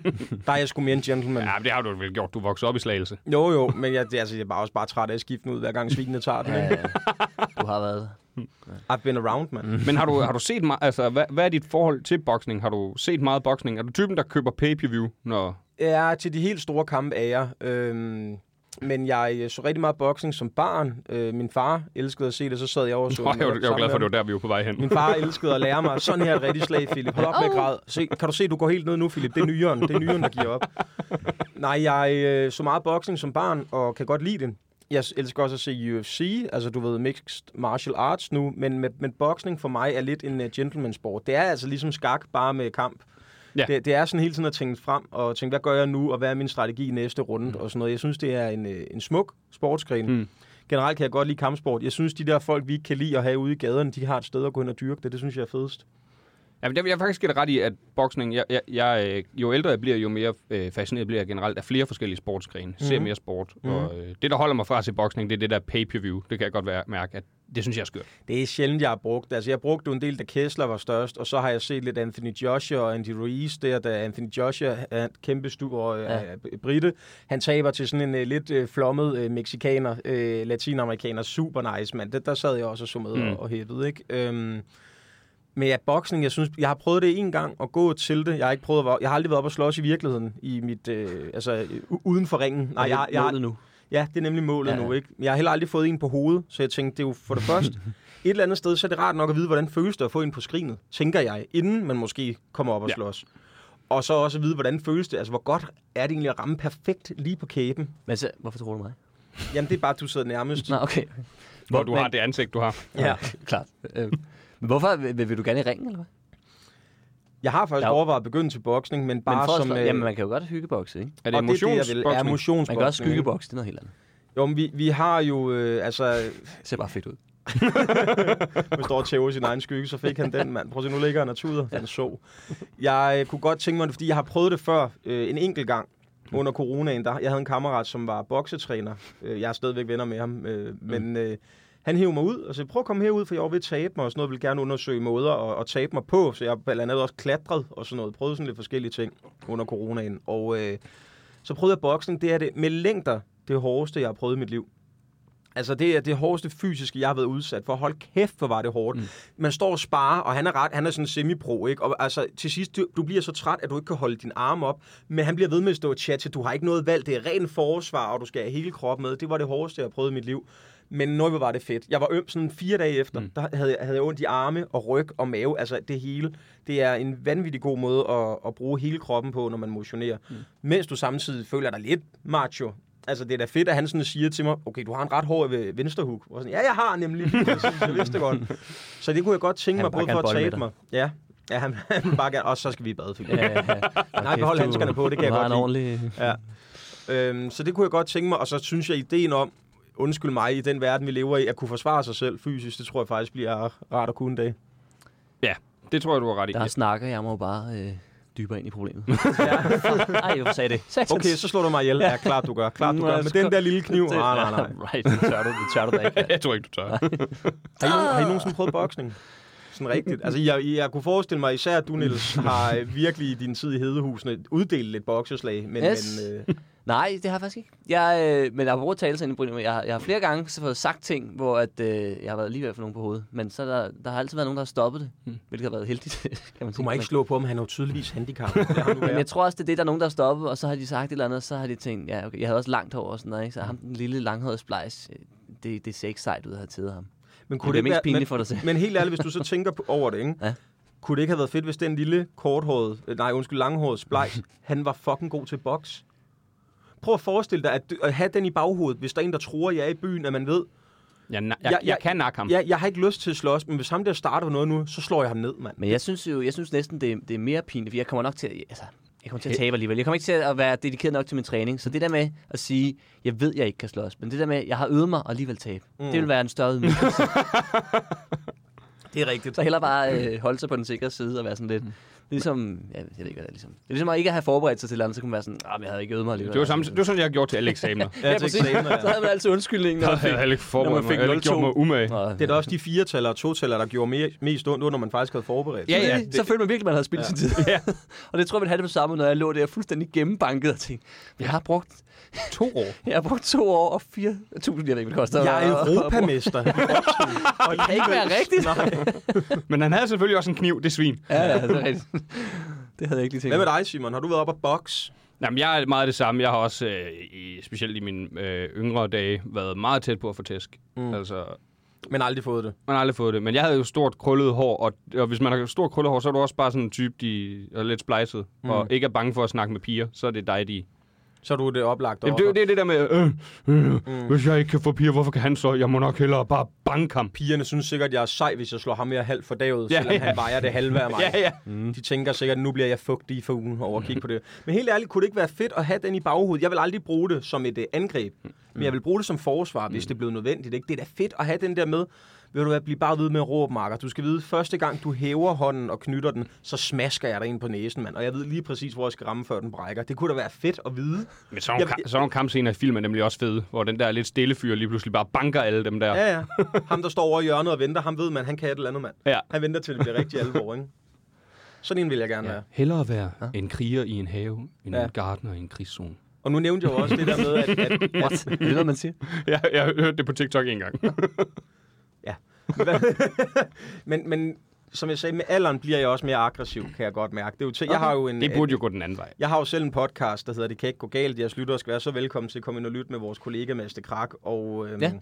der er jeg sgu mere en gentleman.
Ja, men det har du vel gjort. Du voksede op i Slagelse.
Jo, jo, men jeg, det, altså, jeg er bare også bare træt af at skifte den ud, hver gang svinene tager den.
Ja,
Ikke?
ja. Du har været der.
I've been around, mand. Mm.
Men har du, har du set meget... Altså, hvad, hvad er dit forhold til boksning? Har du set meget boksning? Er du typen, der køber pay-per-view, når...
Ja, til de helt store kampe er jeg. Øhm, men jeg øh, så rigtig meget boksning som barn. Øh, min far elskede at se det, så sad jeg over og så
Nå,
det
jeg, var- jeg var
sammen
glad for, at
med
det var der, vi var på vej hen.
ham. Min far elskede at lære mig, sådan her er et rigtigt slag, Philip. Hold op med at græde. Se, kan du se, du går helt ned nu, Philip? Det er nyeren, det er nyeren der giver op. Nej, jeg øh, så meget boksning som barn, og kan godt lide det. jeg elsker også at se UFC, altså du ved, mixed martial arts nu, men, med, men boksning for mig er lidt en uh, gentleman sport. Det er altså ligesom skak, bare med kamp.
Ja.
Ja. Det, det er sådan hele tiden at tænke frem og tænke, hvad gør jeg nu, og hvad er min strategi i næste runde, mm. og sådan noget. Jeg synes, det er en, øh, en smuk sportsgren.
Mm.
Mm. Generelt kan jeg godt lide kampsport. Jeg synes, de der folk, vi ikke kan lide at have ude i gaderne, de har et sted at gå hen og dyrke det. Det synes jeg er fedest.
Ja, men jeg, jeg faktisk give dig ret i, at boksning, jeg, jeg, jeg, øh, jo ældre jeg bliver, jo mere øh, fascineret bliver jeg generelt af flere forskellige sportsgrene. Mm-hmm.
Mhm.
Ser mere sport. Mm-hmm. Og øh, det, der holder mig fra at se boksning, det er det der pay-per-view. Det kan jeg godt være, mærke, at det synes jeg er skørt.
Det er sjældent, jeg har brugt. Altså, jeg brugte jo en del, da Kessler var størst, og så har jeg set lidt Anthony Joshua og Andy Ruiz der, da Anthony Joshua er en kæmpe stor øh,
Ja.
ja. brite. Han taber til sådan en øh, lidt øh, flommet øh, mexikaner, øh, latinamerikaner. Super nice, mand. Det, der sad jeg også og så med
Mm.
mm. og, og hæppede, ikke? Øhm, men ja, boksning, jeg synes, jeg har prøvet det en gang at gå til det. Jeg har ikke prøvet, at- jeg har aldrig været op og slås i virkeligheden, i mit, øh, altså øh, u- uden for ringen. Nej, jeg, jeg,
Målet nu.
Ja, det er nemlig målet
Ja,
ja.
ja.
nu, ikke? Men Jeg har heller aldrig fået en på hovedet, så jeg tænkte, det er jo for det første. et eller andet sted, så er det rart nok at vide, hvordan føles det at få en på skrinet, tænker jeg, inden man måske kommer op og
Ja.
slås. Og så også at vide, hvordan føles det, altså hvor godt er det egentlig at ramme perfekt lige på kæben.
Men så, hvorfor tror du mig?
Jamen det er bare, at du sidder nærmest.
Nej, okay.
Hvor du
men-
har det ansigt, du har.
Ja.
klart. Øhm, Men hvorfor? Vil, vil du gerne i ringen, eller hvad?
Jeg har faktisk
Der er jo-
overvejet at begynde til boksning, men bare
men for at
som...
slå,
øh,
jamen, man kan jo godt hyggebokse, ikke?
Er det
og det er det, jeg vil, er
emotionsboksning?
Man kan også
motionsboksning. ikke?
skyggebokse, det er noget helt andet.
Jo, men vi, vi har jo, øh, altså,
Det ser bare fedt ud.
Man står og tæver i sin egen skygge, så fik han den, mand. Prøv at se, nu ligger han og tuder. Han så. Jeg øh, kunne godt tænke mig det, fordi jeg har prøvet det før øh, en enkelt gang under coronaen. Der, jeg havde en kammerat, som var boksetræner. Øh, jeg er stadigvæk venner med ham. Øh, men øh, han hævde mig ud og sagde, prøv at komme herud, for jeg var ved at tabe mig og sådan noget. ville gerne undersøge måder at, at tabe mig på. Så jeg har blandt andet også klatret og sådan noget. Prøvede sådan lidt forskellige ting under coronaen. Og øh, så prøvede jeg boksning. Det er det med længder det hårdeste, jeg har prøvet i mit liv. Altså, det er det hårdeste fysiske, jeg har været udsat for. Hold kæft, hvor var det hårdt. Mm. Man står og sparer, og han er, ret, han er sådan semi-pro, ikke? Og altså, til sidst, du, du bliver så træt, at du ikke kan holde din arm op, men han bliver ved med at stå og chatte, du har ikke noget valg, det er ren forsvar, og du skal have hele kroppen med. Det var det hårdeste, jeg har prøvet i mit liv. Men nøj, hvor var det fedt. Jeg var øm sådan fire dage efter. Mm. Der havde jeg, havde jeg ondt i arme og ryg og mave. Altså det hele. Det er en vanvittig god måde at, at bruge hele kroppen på, når man motionerer. Mm. Mens du samtidig føler dig lidt macho. Altså, det er da fedt, at han sådan siger til mig, okay, du har en ret hård øh, venstrehug. Og sådan, ja, jeg har nemlig. lige præcis, Jeg vidste det godt. Så det kunne jeg godt tænke
Han
mig,
vil bare
både for
gerne
at
bolle med dig.
tabe mig. Ja, ja han, han vil bare gerne. Og så skal vi i bad, Philip.
Ja, ja.
Nej, behold handskerne på, det kan jeg godt
lide.
lide.
Ordentlig...
Ja. Øhm, så det kunne jeg godt tænke mig, og så synes jeg, ideen om, undskyld mig, i den verden, vi lever i, at kunne forsvare sig selv fysisk, det tror jeg faktisk bliver rart at kunne en dag.
Ja, det tror jeg, du har ret i.
Der snakker jeg mig jo bare øh, dybere ind i problemet. Nej, jeg sagde det. Satans.
Okay, så slår du mig ihjel. Ja, klart du gør. Klart du
Nå,
gør.
jeg
Med
skal-
den der lille kniv.
Det-
Nej, nej, nej.
Right, det tør du, det tør du da ikke.
Jeg tror ikke, du tør.
Har I, nogen, har I nogensinde prøvet boksning? Sådan rigtigt. Altså, jeg, jeg kunne forestille mig, især at du, Niels, har øh, virkelig i din tid i Hedehusene uddelt lidt bokseslag. Men,
Yes.
men øh,
Nej, det har jeg faktisk ikke. Jeg, øh, men jeg har brugt tale ind i jeg, har- jeg har flere gange så fået sagt ting, hvor at, øh, jeg har været lige ved at få nogen på hovedet. Men så er der, der har altid været nogen, der har stoppet det, hmm. hvilket har været heldigt. kan man
du
sige.
må ikke
Men-
slå på ham. Han er jo tydeligvis handicappet. Det har han nu
Men jeg
været.
tror også, det er det, der er nogen, der har stoppet, og så har de sagt et eller andet, og så har de tænkt, ja, okay, jeg havde også langt hår og sådan noget, ikke? så ham den lille langhårede splejs, øh, det, det ser ikke sejt ud at have taget ham.
men
det er
ikke
mest
være-
pinligt
men-
for dig selv.
Men helt ærligt, hvis du så tænker på, over det, ikke?
Ja.
kunne det ikke have været fedt, hvis den lille korthårede, øh, nej undskyld, langhårede splejs, han var fucking god til boks? Prøv at forestille dig at, at have den i baghovedet, hvis der er en, der tror, jeg er i byen, at man ved,
Jeg, jeg, jeg,
jeg-
jeg kan nakke ham.
ja, jeg har ikke lyst til at slås, men hvis ham der starter noget nu, så slår jeg ham ned, mand.
Men jeg synes jo, jeg synes næsten, det, er- det er mere pinligt, for jeg kommer nok til at, altså, jeg kommer til at tabe alligevel. Jeg kommer ikke til at være dedikeret nok til min træning, så det der med at sige, jeg ved, jeg ikke kan slås, men det der med, jeg har øvet mig og alligevel tabe, mm. det vil være en større ydmygelse.
Det er rigtigt. Mm.
så heller bare øh, holde sig på den sikre side og være sådan lidt, det er ligesom, ja, jeg ved ikke, hvad det er ligesom. Det er ligesom at ikke have forberedt sig til et eller andet, så kunne man være sådan, ah, men jeg havde ikke øvet mig alligevel.
Det var, samme, det var sådan, jeg gjorde til alle eksamener.
Ja, til eksamener, ja.
Så havde man altid undskyldningen. når
Jeg
man fik-
havde heller ikke
Når
forberedt
man
mig.
fik
Jeg havde ikke
0-2.
gjort mig umage.
Nå,
Det er da også de fire og to-taller, der gjorde mere, mest ondt, når man faktisk havde forberedt.
Ja, ja.
det... så følte man virkelig, man havde spildt ja. sin tid.
Ja.
og det tror jeg, vi havde det på samme, når jeg lå der fuldstændig gennembanket og tænkte, jeg har brugt,
to år.
jeg har brugt to år og 4.000, jeg ved ikke, hvad det koster.
Jeg er
Og- og-
europamester. i boksning. Og det
kan ikke være rigtigt.
Nej.
Men han havde selvfølgelig også en kniv, det svin.
Ja, ja, det er rigtigt. Det havde jeg ikke lige tænkt.
Hvad med dig, Simon? Har du været op at boks?
Jamen, jeg er meget det samme. Jeg har også, øh, i, specielt i mine øh, yngre dage, været meget tæt på at få tæsk. Mm. Altså,
Men aldrig fået det.
man har aldrig fået det. Men jeg havde jo stort krøllet hår, og, og hvis man har stort krøllet hår, så er du også bare sådan en type, de er lidt splejset, mm. og ikke er bange for at snakke med piger. Så er det dig, de
så er du det oplagt
Jamen,
Jamen,
det, er jo- det er det der med, øh, øh, mm. hvis jeg ikke kan få piger, hvorfor kan han så? Jeg må nok hellere bare banke ham.
Pigerne synes sikkert, at jeg er sej, hvis jeg slår ham mere halvt for daget,
Ja,
ja, selvom
ja.
ja. han vejer det halve af mig. Mm.
Ja, ja.
De tænker sikkert, at nu bliver jeg fugtig for ugen over at kigge på det. Men helt ærligt, kunne det ikke være fedt at have den i baghovedet? Jeg vil aldrig bruge det som et øh, angreb,
Mm.
men jeg vil bruge det som forsvar, hvis det blev nødvendigt. Ikke? Det er da fedt at have den der med. Vil du hvad, blive bare ved med at råbe, Marker. Du skal vide, første gang du hæver hånden og knytter den, så smasker jeg dig ind på næsen, mand. Og jeg ved lige præcis, hvor jeg skal ramme, før den brækker. Det kunne da være fedt at vide.
Men sådan nogle
Jeg-
ka- sådan nogle kampscener i filmen er nemlig også fede, hvor den der lidt stille fyr lige pludselig bare banker alle dem der.
Ja, ja. Ham, der står over i hjørnet og venter, ham ved man, han kan et eller andet, mand.
Ja.
Han venter til, det bliver rigtig alvor, ikke? Sådan en vil jeg gerne ja.
Ja.
være.
Hellere være en kriger i en have, end
Ja.
en gardner i en krigszone.
Og nu nævnte jeg jo også det der med, at, at, at
Er det noget, man siger?
Ja, jeg hørte det på TikTok en gang.
men, men som jeg sagde, med alderen bliver jeg også mere aggressiv, kan jeg godt mærke. Det er jo til, jeg har jo en,
Det burde jo gå den anden vej.
Jeg har jo selv en podcast, der hedder Det kan ikke gå galt. Jeres lyttere skal være så velkommen til at komme ind og lytte med vores kollega Mads de Krak. Og øhm,
Ja.
ja.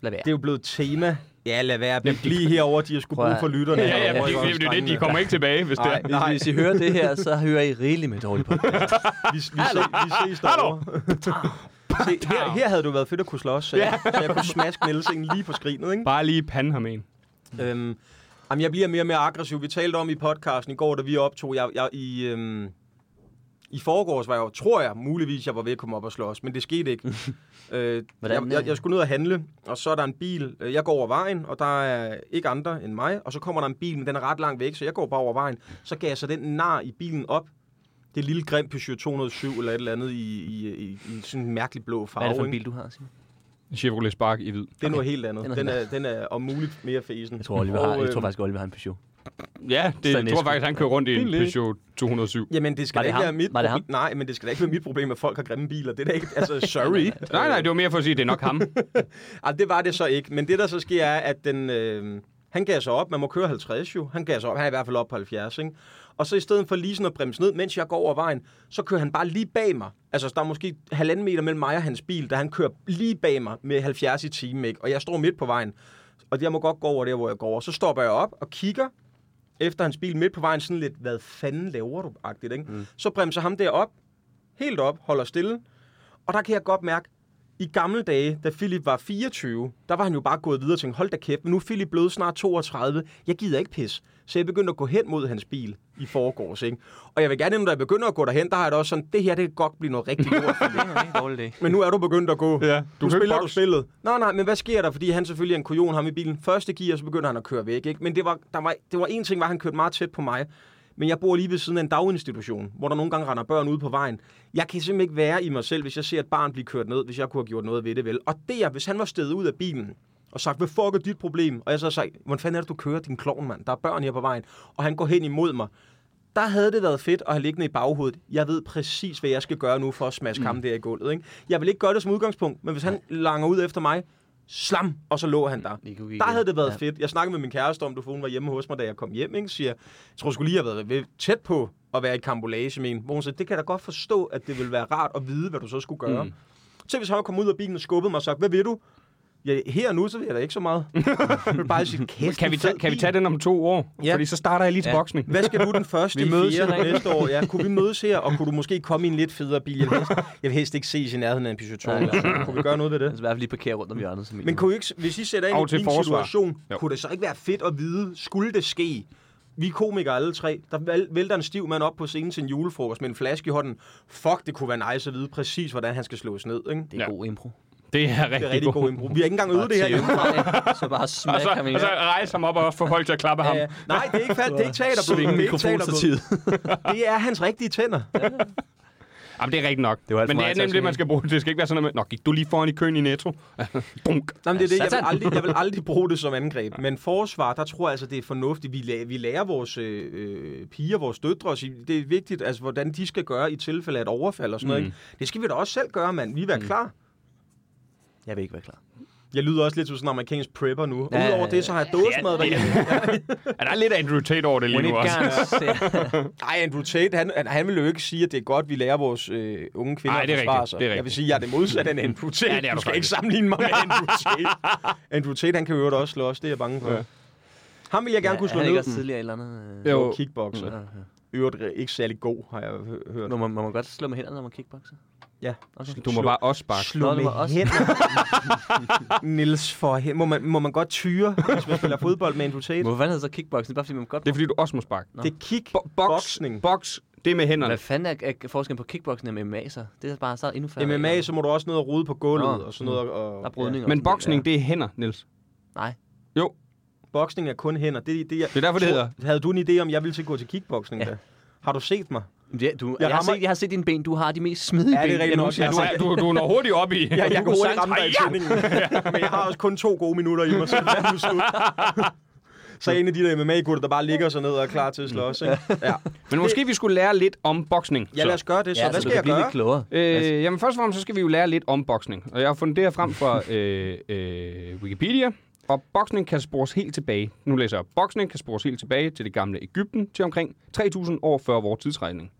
Lad
det er
være.
jo blevet et tema. Ja, lad være. Vi lige herover, de har sgu
Prøv at-
brug for lytterne.
Ja, ja,
herovre i
det, det, det, er det, de
Golfstrandene.
kommer ikke tilbage, hvis det
Nej,
er.
vi,
Hvis, hvis I hører det her, så hører I rigeligt med dårlig podcast.
vi, vi, ses, vi ses derovre. Se, her, her havde du været fedt at kunne slås, så jeg, så jeg kunne smaske Nielsen lige på skrinet, ikke?
Bare lige pande ham en.
Øhm, jamen, jeg bliver mere og mere aggressiv. Vi talte om i podcasten i går, da vi optog. Jeg, jeg, i, øhm, I forgårs var jeg jo, tror jeg, muligvis, jeg var ved at komme op og slås, men det skete ikke. øh,
Hvordan,
jeg, jeg,
øh?
jeg skulle ned og handle, og så er der en bil. Øh, Jeg går over vejen, og der er ikke andre end mig, og så kommer der en bil, men den er ret langt væk, så jeg går bare over vejen. Så gav jeg så den nar i bilen op. Det er lille grim Peugeot 207 eller et eller andet i, i, i, i sådan en mærkelig blå farve.
Hvad er det for en
ikke?
bil, du har, Simon?
Chevrolet Spark i hvid.
Det er noget helt andet.
Den er
Den er, den er om muligt mere fesen. øhm,
Jeg tror, Oliver har, jeg tror faktisk, Oliver har en Peugeot.
Ja, det
Stanescu.
jeg tror faktisk, han kører rundt i en
Billigt.
Peugeot 207.
Jamen, det skal
Var det
da ikke
ham?
være mit
Var det ham?
problem. Nej, men det skal da ikke være mit problem, at folk har grimme biler. Det er da ikke... Altså, sorry.
Nej, nej, det var mere for at sige, at det er nok ham.
Altså, det var det så ikke. Men det, der så sker, er, at den... Øh, han gav sig op. Man må køre 50 jo. Han gav sig op. Han er i hvert fald op på 70, ikke? Og så i stedet for lige sådan at bremse ned, mens jeg går over vejen, så kører han bare lige bag mig. Altså, der er måske halvanden meter mellem mig og hans bil, da han kører lige bag mig med 70 i timen, ikke? Og jeg står midt på vejen. Og jeg må godt gå over der, hvor jeg går over. Så stopper jeg op og kigger efter hans bil midt på vejen, sådan lidt, hvad fanden laver du? Agtigt, ikke? Mm. Så bremser ham der op, helt op, holder stille. Og der kan jeg godt mærke, i gamle dage, da Philip var 24, der var han jo bare gået videre og tænkte, hold da kæft, men nu er Philip blevet snart 32, jeg gider ikke pis. Så jeg begyndte at gå hen mod hans bil i forgårs, ikke? Og jeg vil gerne, når jeg begynder at gå derhen, der har jeg da også sådan, det her, det kan godt blive noget rigtig lort. Philip."
Det er en dårlig dag.
Men nu er du begyndt at gå.
Ja, du
du
kan ikke
nu spiller du
bokse.
spillet. Nej, nej, men hvad sker der? Fordi han selvfølgelig er en kujon, ham i bilen. Første gear, så begynder han at køre væk. Ikke? Men det var, der var, det var en ting, var, at han kørte meget tæt på mig. Men jeg bor lige ved siden af en daginstitution, hvor der nogle gange render børn ude på vejen. Jeg kan simpelthen ikke være i mig selv, hvis jeg ser et barn blive kørt ned, hvis jeg kunne have gjort noget ved det, vel? Og der, hvis han var stedet ud af bilen, og sagt, hvad fuck er dit problem? Og jeg så har sagt, hvordan fanden er det, du kører din klovn, mand? Der er børn her på vejen. Og han går hen imod mig der havde det været fedt at have liggende i baghovedet. Jeg ved præcis, hvad jeg skal gøre nu for at smaske mm. ham der i gulvet. Ikke? Jeg vil ikke gøre det som udgangspunkt, men hvis han langer ud efter mig, slam, og så lå han der.
Lige kunne
Der
kigge.
havde det været
Ja.
ja. fedt. Jeg snakkede med min kæreste om, du hun var hjemme hos mig, da jeg kom hjem. Ikke? Siger, jeg tror sgu lige, jeg har været ved- tæt på at være i kambolage med en. Hvor hun sagde, det kan jeg da godt forstå, at det ville være rart at vide, hvad du så skulle gøre. Mm. Så hvis han var kommet ud af bilen og skubbet mig og sagt, hvad vil du? Ja, her og nu, så vil jeg da ikke så meget. Jeg vil bare sige, kæft,
Kan vi,
en fed
tage, kan vi
bil."
tage den om to år?
Ja.
Fordi så starter jeg lige til
Ja.
boksning.
Hvad skal du den første
Vi
vi
mødes
mødes i
i
fire
dag.
næste år? Ja, kunne vi mødes her, og kunne du måske komme i en lidt federe bil? Jeg vil helst, jeg vil helst ikke ses i nærheden af en Peugeot 2.
Nej.
eller sådan noget. Kunne vi gøre noget ved
Altså
det?
i hvert fald lige parkere rundt om hjørnet. Som
Men kunne I ikke, hvis I sætter
Og
ind i
til
din
forsvar.
situation,
Jo.
kunne det så ikke være fedt at vide, skulle det ske? Vi er komikere alle tre. Der væl- vælter en stiv mand op på scenen til en julefrokost med en flaske i hånden. Fuck, det kunne være nice at vide præcis, hvordan han skal slås ned. Ikke?
det er god impro.
Det er
Det er
rigtig,
rigtig god impro. Vi har ikke engang øvet det her.
Bare
endnu.
til øvrigt, Så bare
Og
smæk
så,
ham i
og så rejse ham op og få folk til at klappe ham.
Ja, ja. Nej, det er ikke, fald, det er ikke teaterblod. Det er ikke teaterblod.
mikrofonstativet.
Det er hans rigtige tænder.
Jamen, det er rigtigt nok.
Det var alt for
Men det er
meget
nemlig det, man skal bruge. Det skal ikke være sådan noget med, Nå, gik du lige foran i køen i Netto? Dunk.
Nå, men det er det. Jeg vil,
Satan.
aldrig, jeg vil aldrig bruge det som angreb. Men forsvar, der tror jeg altså, det er fornuftigt. Vi, lærer, vi lærer vores øh, øh, piger, vores døtre, at sige, det er vigtigt, altså, hvordan de skal gøre i tilfælde af et overfald og sådan mm. noget. Ikke? Det skal vi da også selv gøre, mand. Vi er mm. klar.
Jeg vil ikke være klar.
Jeg lyder også lidt som sådan en amerikansk prepper nu.
Ja,
Ja, Udover
ja,
det, så har jeg dåsemad derhjemme.
Er der er lidt Andrew Tate over det lige
When
nu
it
også?
comes,
Nej, Andrew Tate, han, han, han vil jo ikke sige, at det er godt, vi lærer vores øh, unge kvinder
Ej,
at
det er
forsvare
rigtigt.
sig.
Det er
jeg vil
rigtigt.
sige, at jeg er det modsatte end Andrew Tate.
Ja, det er
du
du
skal
faktisk.
ikke sammenligne mig med Andrew Tate. Andrew Tate, han kan jo også slå os, det er jeg bange for. Ja. Ham vil jeg gerne kunne slå
han er ikke
ned.
også tidligere et eller andet. øh,
Jo.
Kickboxer.
Ja, ja.
øvrigt øh, ikke særlig god, har jeg hø- hørt.
øh, Må man, må man godt slå med hænderne, når man kickboxer?
Ja.
Okay.
Du må
Slå-
bare også sparke.
Nå,
Slå
det
med
var os.
hænder. Nils for he- må, man, må man godt tyre, hvis man spiller fodbold med en potato?
Hvorfor fanden hedder det så kickboxing? Bare fordi man godt...
Det er fordi, du også må sparke.
Nå.
Det er kick.
Bo- boks,
Boksning.
boks, det er med hænderne.
Hvad fanden er, er forskellen på kickboxing og MMA så? Det er bare så endnu færre.
MMA, så må du også ned og rode på gulvet
Nå.
og sådan noget. Og,
Der er brydninger.
Men boksning, det er hænder, Niels.
Ja. Boksning er kun hænder. Det, det, jeg,
Det er derfor, det
tror-
hedder.
Havde du en idé om, jeg ville til at gå til kickboxning?
Ja.
Ja. Har du set mig?
Ja, du, jeg, jeg, har
rammer-
set, jeg har set dine ben. Du har de mest smidige
Ja, det er
ben,
rigtigt
jeg
nok.
nogensinde
Ja,
har
Du,
set.
er, du, du når hurtigt op i.
Ja, jeg
du
kan hurtigt
sagtens-
ramme dig i
Ej,
tændingen. Men jeg har også kun to gode minutter i mig, så det er nu slut. Så er en af de der MMA-gutter, der bare ligger sig ned og er klar til at slås. Ikke? Ja.
ja. Men måske vi skulle lære lidt om boksning.
ja,
så.
lad os gøre det. Så
Ja,
hvad
så
skal
du
jeg
kan blive
gøre?
lidt klogere.
Øh, jamen først og fremmest, så skal vi jo lære lidt om boksning. Og jeg har fundet det her frem fra øh, øh, Wikipedia. Og boksning kan spores helt tilbage. Nu læser jeg. Boksning kan spores helt tilbage til det gamle Ægypten til omkring 3000 år før vores tidsregning.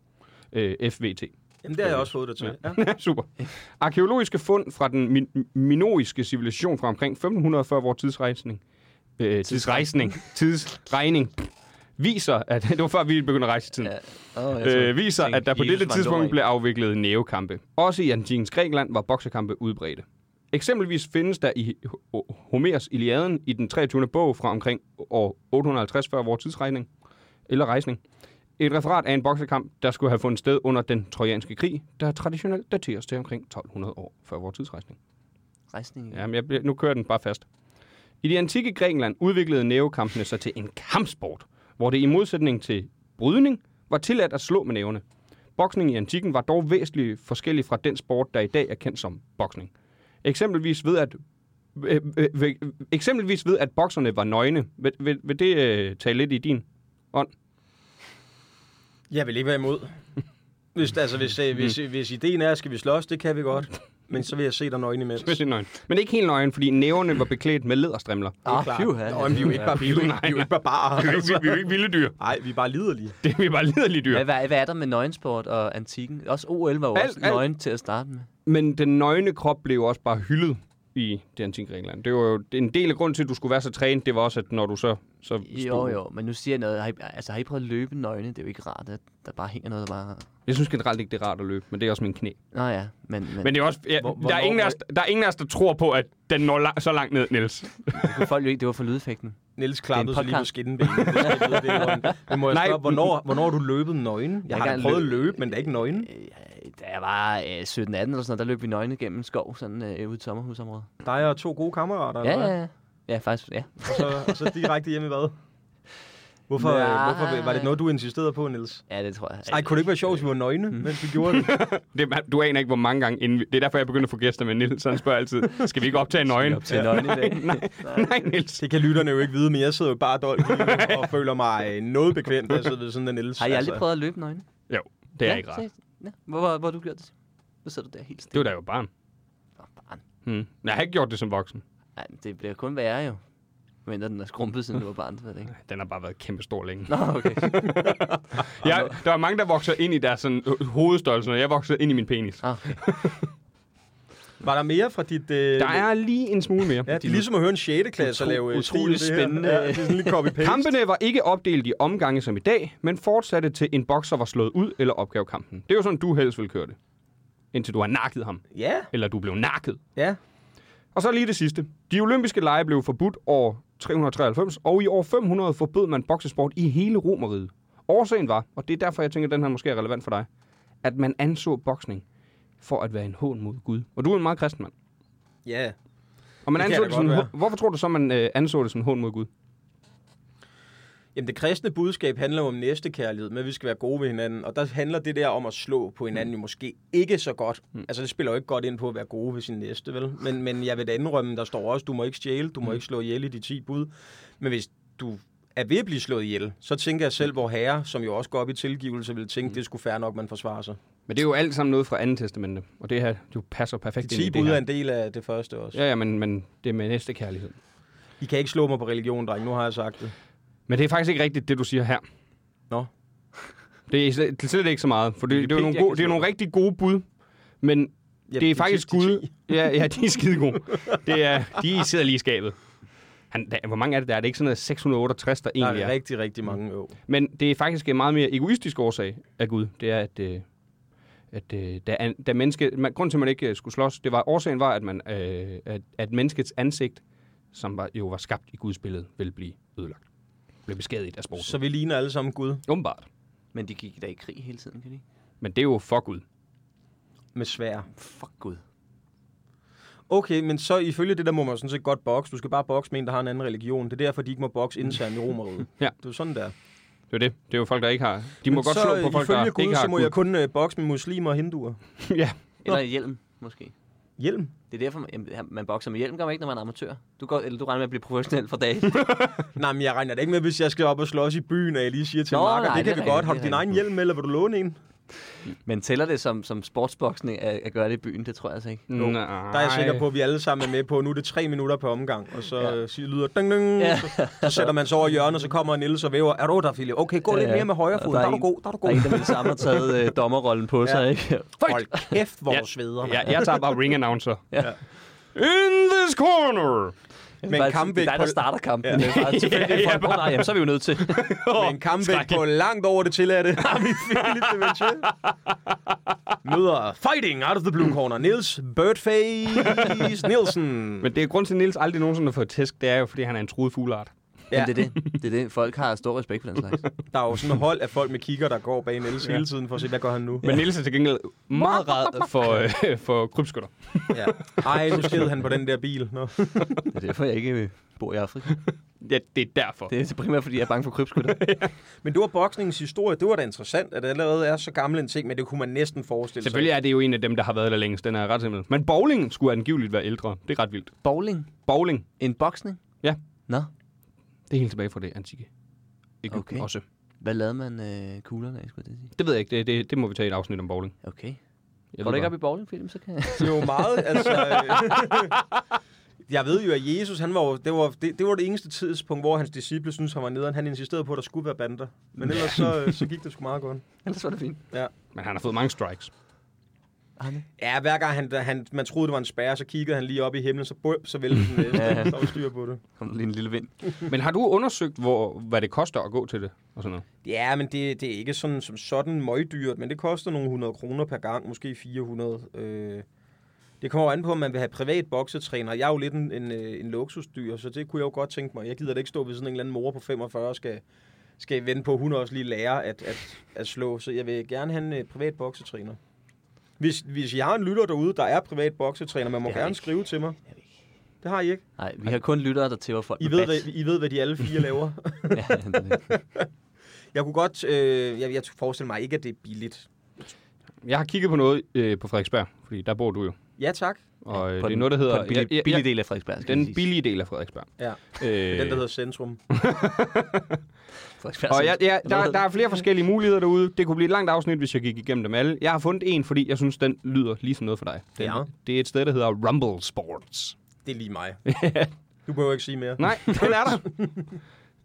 Øh, FVT.
Jamen, det har jeg også fået dig til. Ja.
Super. Arkeologiske fund fra den min- minoiske civilisation fra omkring 1500 før vores tidsrejsning. Øh, tidsrejsning. Tidsregning. Viser, at det var før vi begyndte at rejse i tiden
Ja. Oh,
øh, viser, at der på dette tidspunkt blev
blev...
afviklet nævekampe. Også i antikens Grækenland var boksekampe udbredte. Eksempelvis findes der i H- H- Homers Iliaden i den 23. bog fra omkring år 850 før vores tidsregning, eller rejsning, et referat af en boksekamp, der skulle have fundet sted under den trojanske krig, der traditionelt dateres til omkring 1200 år før vores tidsrejsning.
Rejsning. Ja.
Jamen, jeg, bliver- nu kører den bare fast. I det antikke Grækenland udviklede nævekampene sig til en kampsport, hvor det i modsætning til brydning var tilladt at slå med nævene. Boksning i antikken var dog væsentligt forskellig fra den sport, der i dag er kendt som boksning. Eksempelvis ved at øh, øh, ved- eksempelvis ved, at bokserne var nøgne. Vil, vil, vil det øh, tage lidt i din ånd?
Jeg vil ikke være imod. Hvis, altså, hvis, øh, hvis, hvis ideen er, skal vi slås, det kan vi godt. Men så vil jeg se dig nøgen imens.
Hvis det er nøgen. Men ikke helt nøgen, fordi næverne var beklædt med læderstrimler.
Ah, phew, ja.
Nå, men vi er jo ikke bare, vi er jo ikke, vi er jo ikke bare bare.
Vi er jo ikke- vi er jo ikke vilde dyr.
Nej, vi er bare liderlige.
Det er vi er bare liderlige dyr.
Hvad, hvad, hvad er der med nøgensport og antikken? Også OL var jo
Alt-
også
alt.
nøgen til at starte med.
Men den nøgne krop blev jo også bare hyldet i det antikke Grækenland. Det var jo det er en del af grunden til, at du skulle være så trænet, det var også, at når du så... så
Jo, jo, men nu siger jeg noget. Har I, altså, har I prøvet at løbe nøgne? Det er jo ikke rart, at der bare hænger noget, der bare...
Jeg synes generelt ikke, det er rart at løbe, men det er også min knæ.
Nå ja, men... men,
Men det er også, ja,
Hvor-
der, er ingen af os,
hvornår-
der er ingen af os, der tror på, at den når la- så langt ned, Niels.
det kunne folk jo ikke. Det var for lydeffekten.
Niels klappede
Det er
sig
en
lige på
podcast.
skinnebenet. Det skal jeg vide, det er løgn. Men må jeg
Nej.
spørge, hvornår, hvornår har du løbet nøgen? Jeg
har
har da
engang
prøvet at
løbet-
løbe, men det er ikke nøgen.
Øh, Da jeg var øh, 17-18 eller sådan noget, der løb vi nøgne gennem en skov, sådan øh, ude i et sommerhusområde.
Dig og to gode kammerater,
Ja,
eller
ja,
hvad?
ja. Ja, faktisk, ja.
Og så, og så direkte hjem i hvad? Hvorfor, øh,
Nej.
hvorfor var det noget, du insisterede på, Niels?
Ja, det tror jeg.
Nej, kunne det ikke være sjovt, hvis vi var nøgne, mens vi gjorde det?
Det, man- du aner ikke, hvor mange gange inden vi, Det er derfor, jeg begynder at få gæster med Niels. Han spørger altid, skal vi ikke optage nøgen?
Til nøgne i dag.
Nej, nej, Niels.
Det kan lytterne jo ikke vide, men jeg sidder jo bare dolk lige nu og føler mig øh, noget bekvemt, da jeg sidder ved sådan en Niels. Altså,
Har I aldrig prøvet at løbe nøgne?
Jo, det er
Ja,
ikke rart.
seriøst. Ja. Hvor, hvor, hvor har du gjort det? Nu sidder du der helt
Det
stille.
var da jeg var barn.
Nå, barn.
Hmm. Jeg har ikke gjort det som voksen.
Nej, men det bliver kun værre jo. Men den er skrumpet, siden du var barn, det ved jeg ikke.
Den har bare været kæmpestor længe.
Nå, okay.
Jeg, der er mange, der vokser ind i deres sådan, øh, hovedstørrelse, og jeg voksede ind i min penis.
Ah, okay.
Var der mere fra dit... Øh,
Der er lige en smule mere.
Ja, det er ligesom at høre en 6. klasse lave øh, stil,
utrolig
det her.
spændende.
Ja, det er sådan lidt copy-paste.
Kampene var ikke opdelt i omgange som i dag, men fortsatte til en bokser var slået ud eller opgav kampen. Det er jo sådan, du helst vil køre det. Indtil du har nakket ham.
Ja,
Eller du blev nakket.
ja.
Og så lige det sidste. De olympiske lege blev forbudt år 393, og i år 500 forbød man boksesport i hele Romeriet. Årsagen var, og det er derfor, jeg tænker, at den her måske er relevant for dig, at man anså boksning for at være en hån mod Gud. Og du er en meget kristen mand.
Ja.
Og man
Det kan
anså
da
det som,
godt
en
være.
hå- hvorfor tror du så, man øh, anså det som en hån mod Gud?
Jamen, det kristne budskab handler jo om næstekærlighed, men vi skal være gode ved hinanden. Og der handler det der om at slå på hinanden
Mm.
jo måske ikke så godt. Altså, det spiller jo ikke godt ind på at være gode ved sin næste, vel? Men, men jeg vil da indrømme, der står også, du må ikke stjæle, du må
Mm.
ikke slå ihjel i de 10 bud. Men hvis du er ved at blive slået ihjel, så tænker jeg selv,
Mm.
hvor herre, som jo også går op i tilgivelse, vil tænke, det skulle fair nok, man forsvarer sig.
Men det er jo alt sammen noget fra 2. testamente, og det her jo passer perfekt
De
ind i
10
det
bud
her.
er en del af det første også.
Ja, ja, men, men det er med næste kærlighed.
I kan ikke slå mig på religion, dreng. Nu har jeg sagt det.
Men det er faktisk ikke rigtigt, det du siger her.
Nå.
Det er slet, det er slet ikke så meget, for det, det, er, jo
pænt,
nogle
jeg
gode,
kan
det er
slå
nogle rigtig gode bud, men
Ja,
det er
de
faktisk
sidste
Gud. Ja, ja, de er skide gode. Det er, de sidder lige i skabet. Han, der, hvor mange er det der? Er det ikke sådan noget 668, der
Der
egentlig Mm.
er
er?
rigtig, rigtig mange øv.
Men det er faktisk en meget mere egoistisk årsag af Gud. Det er, at, øh, at øh, da, an- da menneske, man, grunden til, at man ikke øh, skulle slås, det var, årsagen var, at, man, øh, at, at menneskets ansigt, som var, jo var skabt i Guds billede, ville blive ødelagt. Blev beskadiget af sporten.
Så vi ligner alle sammen Gud
Åbenbart.
Men de gik da i krig hele tiden, kan de? ikke?
Men det er jo for Gud.
med svær.
Fuck Gud.
Okay, men så ifølge det der må man sådan set godt bokse. Du skal bare bokse med en, der har en anden religion. Det er derfor, de ikke må bokse internt i romeriet.
Ja.
Det er jo sådan der.
Det er jo det. Det er jo folk, der ikke har... De må
men
godt
så,
slå på folk, der
ifølge Gud,
ikke har
så må jeg kun øh, bokse med muslimer og hinduer.
Gud. ja.
Eller hjelm, måske.
Hjelm?
Det er derfor, man, jamen, man bokser med hjelm, gør man ikke, når man er amatør. Du, går, eller du regner med at blive professionel for dag.
Nej, men jeg regner da ikke med, hvis jeg skal op og slås i byen, og jeg lige siger til
Nå,
Nå, Marker,
nej, det
det kan
er
vi
rigtigt,
godt. Har du
det er
din egen hjelm, med, eller vil du låne en?
Men tæller det som, som sportsboksning at, at gøre det i byen? Det tror jeg altså ikke.
Jo. Nej.
Der er jeg sikker på, at vi alle sammen er med på. Nu er det tre minutter på omgang, og så
Ja.
ja. siger, lyder ding, ding,
Ja.
ja. så, så, sætter man sig over hjørnet, og så kommer Niels og væver. Er du der, Philip? Okay, gå lidt
Ja.
mere med højre fod.
Der
Der,
er
er du
en-
god, der er du
Der
god.
er en, der med det samme har taget øh, dommerrollen på sig, ikke?
Hold kæft, hvor
Ja.
du sveder.
Ja, jeg tager bare ring announcer.
Ja.
In this corner!
Men
Bare-
kampvægt
Det er dig,
på-
der starter kampen. Ja.
Ja.
Det er bare tilfældigt. Ja, ja, nej, jamen, så er vi jo nødt til.
Men kampvægt på langt over det tilladte har vi Philip de Venture. Møder fighting out of the blue corner. Niels Birdface Nielsen.
Men det er grund til, at Niels aldrig nogensinde har fået tæsk, det er jo, fordi han er en truet fugleart.
Ja. Men det er det. Det er det. Folk har stor respekt for den slags.
Der er jo sådan et hold af folk med kigger, der går bag Niels hele tiden for at se, hvad gør han nu.
Men ja. Niels er til gengæld meget rad for, øh, for krybskytter.
Ja. Ej, nu sked han på den der bil. Nå.
Det er derfor, jeg ikke øh, bor i Afrika.
Ja, det er derfor. Det.
Det er primært, fordi jeg er bange for krybskytter.
Men det var boksningens historie. Det var da interessant, at det allerede er så gammel en ting, men det kunne man næsten forestille sig.
Selvfølgelig er det jo en af dem, der har været der længst. Den er ret simpel. Men bowling skulle angiveligt være ældre. Det er ret vildt.
Bowling?
Bowling,
En boksning?
Ja.
Nå,
det er helt tilbage fra det antikke. Egypten
Okay.
okay. også.
hvad lavede man øh, kuglerne af, skulle jeg til at sige?
Det ved jeg ikke. Det, det, det må vi tage i et afsnit om bowling.
Okay.
Jeg
Går
ved
du ikke
bare-
op i bowlingfilm, så kan jeg...
Det er jo meget, altså... øh, Jeg ved jo, at Jesus, han var jo, det, var, det, det var det eneste tidspunkt, hvor hans disciple synes han var nederen. Han insisterede på, at der skulle være bander. Men ellers så, øh, så gik det sgu meget godt.
Ellers var det fint.
Men han har fået mange strikes.
Arne?
Ja, hver gang han, han, man troede, det var en spærre, så kiggede han lige op i himlen, så bum, så væltede den næste.
Ja.
Så var styr på det.
Kom der lige en lille vind.
Men har du undersøgt, hvor, hvad det koster at gå til det? Og sådan noget?
Ja, men det, det er ikke sådan som sådan møgdyrt, men det koster nogle 100 kroner per gang, måske 400. Øh, det kommer jo an på, om man vil have privat boksetræner. Jeg er jo lidt en, en, øh, en luksusdyr, så det kunne jeg jo godt tænke mig. Jeg gider da ikke stå ved sådan en eller anden mor på 45 og skal, skal vente på, at hun også lige lærer at, at, at slå. Så jeg vil gerne have en øh, privat boksetræner. Hvis, hvis jeg har en lytter derude, der er privat boksetræner, man må
Det har jeg
gerne
ikke.
skrive til mig.
Jeg ved ikke.
Det har I ikke.
Nej, vi har kun lyttere, der tæver folk
I
med
ved,
bat.
hvad, I ved, hvad de alle fire laver.
ja, det er det.
Jeg kunne godt... Øh, jeg, jeg forestiller mig ikke, at det er billigt.
Jeg har kigget på noget øh, på Frederiksberg, fordi der bor du jo.
Ja, tak.
Og øh,
På
det er
den-
noget, der
På
hedder...
den billige,
ja, ja,
billige del af Frederiksberg, skal
den
jeg sige.
billige del af Frederiksberg.
Ja.
Øh,
Den, der hedder Centrum.
Frederiksberg.
Og jeg, ja,
Hvad hedder
der, der er
den?
flere forskellige muligheder derude. Det kunne blive et langt afsnit, hvis jeg gik igennem dem alle. Jeg har fundet en, fordi jeg synes, den lyder lige som noget for dig. Den,
Ja.
Det er et sted, der hedder Rumble Sports.
Det er lige mig. du behøver ikke sige mere.
Nej, den er der.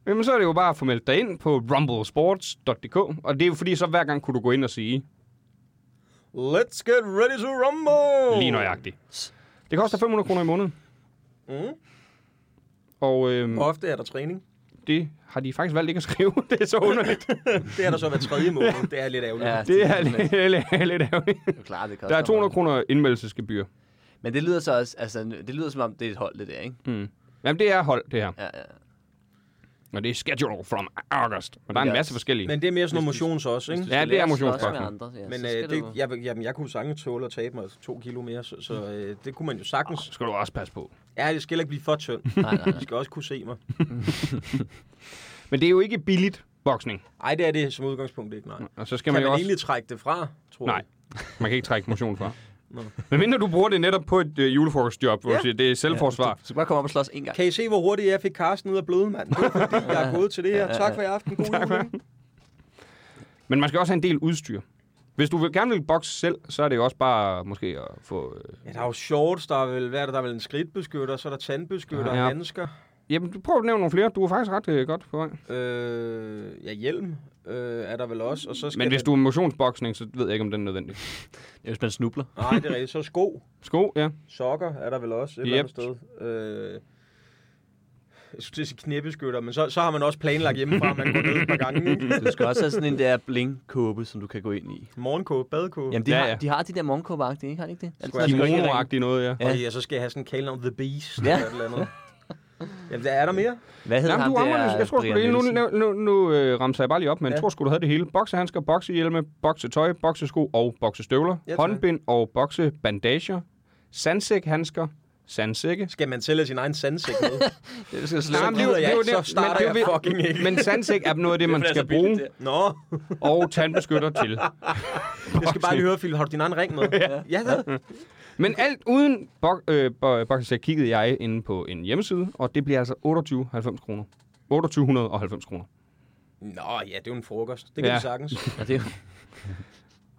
Jamen, så er det jo bare at få meldt dig ind på rumblesports.dk. Og det er jo fordi, så hver gang kunne du gå ind og sige,
Let's get ready to rumble!
lige nøjagtigt. Det koster 500 kroner i måneden.
Mm.
Og øhm,
Ofte er der træning.
det har de faktisk valgt ikke at skrive. Det er så underligt.
Det er der så hver tredje måned. Det er lidt ærgerligt.
Ja,
Ja.
Det er lidt, lidt, lidt ærgerligt.
Det er jo klart, det koster
Der er
meget.
200 kroner indmeldelsesgebyr.
Men det lyder så også, altså, det lyder som om, det er et hold, det der, ikke?
Mm. Jamen, det er hold, det her.
Ja, ja.
Og det er schedule from August. Og der er en
Ja.
masse forskellige.
Men det er mere sådan noget motions også, ikke?
Ja, det er motionsboksen.
Men øh, det, jeg, jamen, jeg kunne sagtens tåle at tabe mig to kilo mere, så, så øh, det kunne man jo sagtens.
skal du også passe på.
Ja, det skal heller ikke blive for tynd.
Nej, nej,
De
nej.
skal også kunne se mig.
Men det er jo ikke billigt boksning.
Ej, det er det som udgangspunkt ikke, nej. Kan
Og så skal
man,
man,
man
jo også...
egentlig trække det fra, tror
Nej,
jeg?
man kan ikke trække motion fra.
Nå.
Men mindre du bruger det netop på et øh, julefrokostjob, hvor
Ja.
du siger, det er selvforsvar.
Du skal bare komme op og slås en gang.
Kan I se, hvor hurtigt jeg fik Carsten ud af bløde, mand? Det er fordi, jeg er gået til det her. Tak for i aften. God jul. ikke?
Men man skal også have en del udstyr. Hvis du vil, gerne vil bokse selv, så er det jo også bare måske at få... Øh...
Ja, der er jo shorts, der er vel, hvad er der, der er vel en skridtbeskytter, så er der tandbeskytter,
Ja.
ja. handsker,
Jamen, du prøver at nævne nogle flere. Du er faktisk ret øh, godt på vej.
øh, ja, hjelm øh, er der vel også, og så skal
Men hvis
der-
du er motionsboksning, så ved jeg ikke, om den er nødvendig.
Hvis man snubler.
Nej, det er rigtigt, så sko,
Sko, ja.
sokker er der vel også et
Yep.
yep. eller andet sted. Øh, jeg skulle til at sige knæbeskytter, men så, så har man også planlagt hjemmefra, at man går ned et par gange. ikke?
Du skal også have sådan en der bling-kåbe, som du kan gå ind i.
Morgenkåbe, badekåbe.
Jamen, de,
Ja,
ja, har,
ja.
de har de der morgenkåbeagtige, ikke? Har de ikke det? Altså,
jeg
de går ind i ringen.
Kimono-agtigt noget, ja.
Ja.
Og ja, så skal jeg have sådan en kælenavn The Beast
Ja.
ja. eller et eller andet. Jamen, der er der mere?
Hvad hedder
Jamen,
ham
du rammer
der?
det. Jeg tror sgu
Brian
det hele. Nu,
Nielsen?
nu, nu, nu øh, ramser jeg bare lige op, men jeg
Ja.
tror sgu, du havde det hele. Boksehandsker, bokserhjelme, boksetøj, boksesko og boksestøvler.
Ja, tak.
håndbind og boksebandager. Sandsækhandsker, sandsække.
Skal man sælge sin egen sandsæk med?
Det skal
Nej,
slet
men gider jeg ikke, så starter
men det er
jeg
jo-
fucking ikke.
Men sandsæk er noget af det, man skal bruge,
Nå,
og tandbeskytter til.
jeg skal bare lige høre, Phil, har du din egen ring med? ja. ja da.
Men alt uden bok, øh, bo- boksesæk kiggede jeg inde på en hjemmeside, og det bliver altså 2890 kroner. 2890 kroner.
Nå, ja, det er jo en frokost. Det kan
Ja.
ja. vi sagtens.
Ja, det er jo-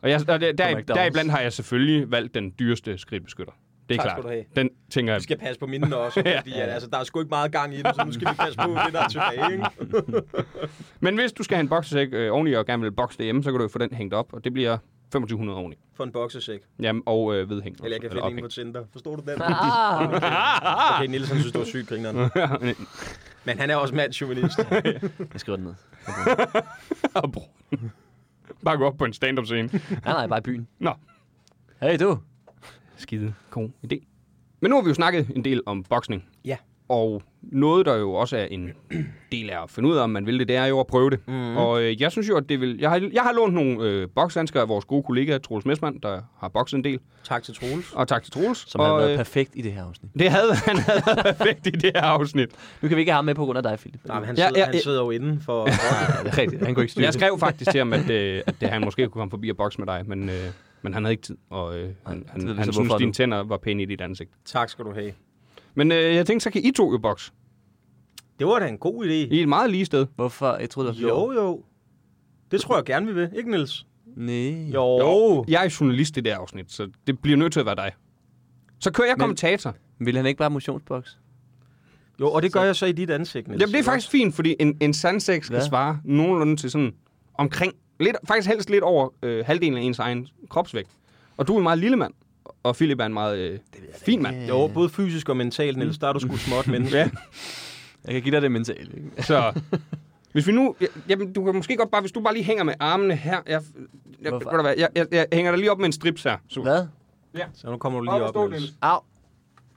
Og, jeg, og der, der,
McDonald's.
deriblandt har jeg selvfølgelig valgt den dyreste skridtbeskytter. Det er
Tak
klart.
skal du have.
Den tænker jeg
Vi skal passe på mindene også, fordi at, altså, der er sgu ikke meget gang i det, så nu skal vi passe på det, der er tilbage. Ikke?
Men hvis du skal have en boksesæk øh, oveni og gerne vil bokse det hjemme, så kan du jo få den hængt op, og det bliver 2500 oveni.
For en boksesæk.
Jamen, og øh, vedhæng.
Eller jeg kan finde en på Tinder. Forstår du den?
Ah,
Okay, Nielsen synes, det var sygt, grineren. Men han er også mandsjuvenist.
jeg skriver den ned.
Og bror. Bare gå op på en stand-up scene.
Nej, nej, bare i byen.
Nå.
Hey, du.
Skide god idé. Men nu har vi jo snakket en del om boksning.
Ja.
Og noget, der jo også er en del af at finde ud af, om man vil det, det er jo at prøve det.
Mhm.
Mm. Og øh, jeg synes jo, at det vil... Jeg har, jeg har lånt nogle øh, bokshandsker af vores gode kollega, Troels Messmann, der har bokset en del.
tak til Troels.
Og tak til Troels.
Som har
og,
været
øh,
perfekt i det her afsnit.
det havde han havde været perfekt i det her afsnit.
Nu kan vi ikke have ham med på grund af dig, Philip.
Nej, men han,
Ja,
sidder,
ja,
han
ja.
sidder jo inden for...
Ja, det er rigtigt. Han kunne ikke styre
Jeg skrev faktisk til ham, at, øh, at det, han måske kunne komme forbi og bokse med dig, men, øh, men han havde ikke tid, og øh, han,
det
han,
ved vi
han
så
synes,
hvorfor
dine
nu.
tænder var pæne i dit ansigt.
tak skal du have.
Men øh, jeg tænkte, så kan I to jo bokse.
Det var da en god idé.
I er et meget lige sted.
det. Hvorfor? Jeg troede, det var
Jo, jo. Det tror jeg gerne, vi vil. Ikke, Niels?
Nej.
Jo.
Jeg er journalist i det her afsnit, så det bliver nødt til at være dig. Så kører jeg
Men-
kommentator.
Vil han ikke bare have motionsboks?
Jo, og det gør jeg så i dit ansigt, Niels.
Jamen, det er faktisk fint, fordi en, en sandsæk skal
Ja.
svare nogenlunde til sådan omkring, lidt, faktisk helst lidt over øh, halvdelen af ens egen kropsvægt. Og du er en meget lille mand, og Philip er en meget øh, fin mand.
Jo, både fysisk og mentalt, Niels. Der er du sgu et småt menneske.
Ja.
Jeg kan give dig det mentale, ikke?
Så hvis vi nu... ja, Jamen, du kan måske godt bare... Hvis du bare lige hænger med armene her... Jeg, jeg, ved
Hvorfor?
du hvad, jeg, jeg, jeg hænger dig lige op med en strips her. Så,
Hvad?
Så nu kommer du lige
og
op,
stå,
Niels.
Niels.
Au.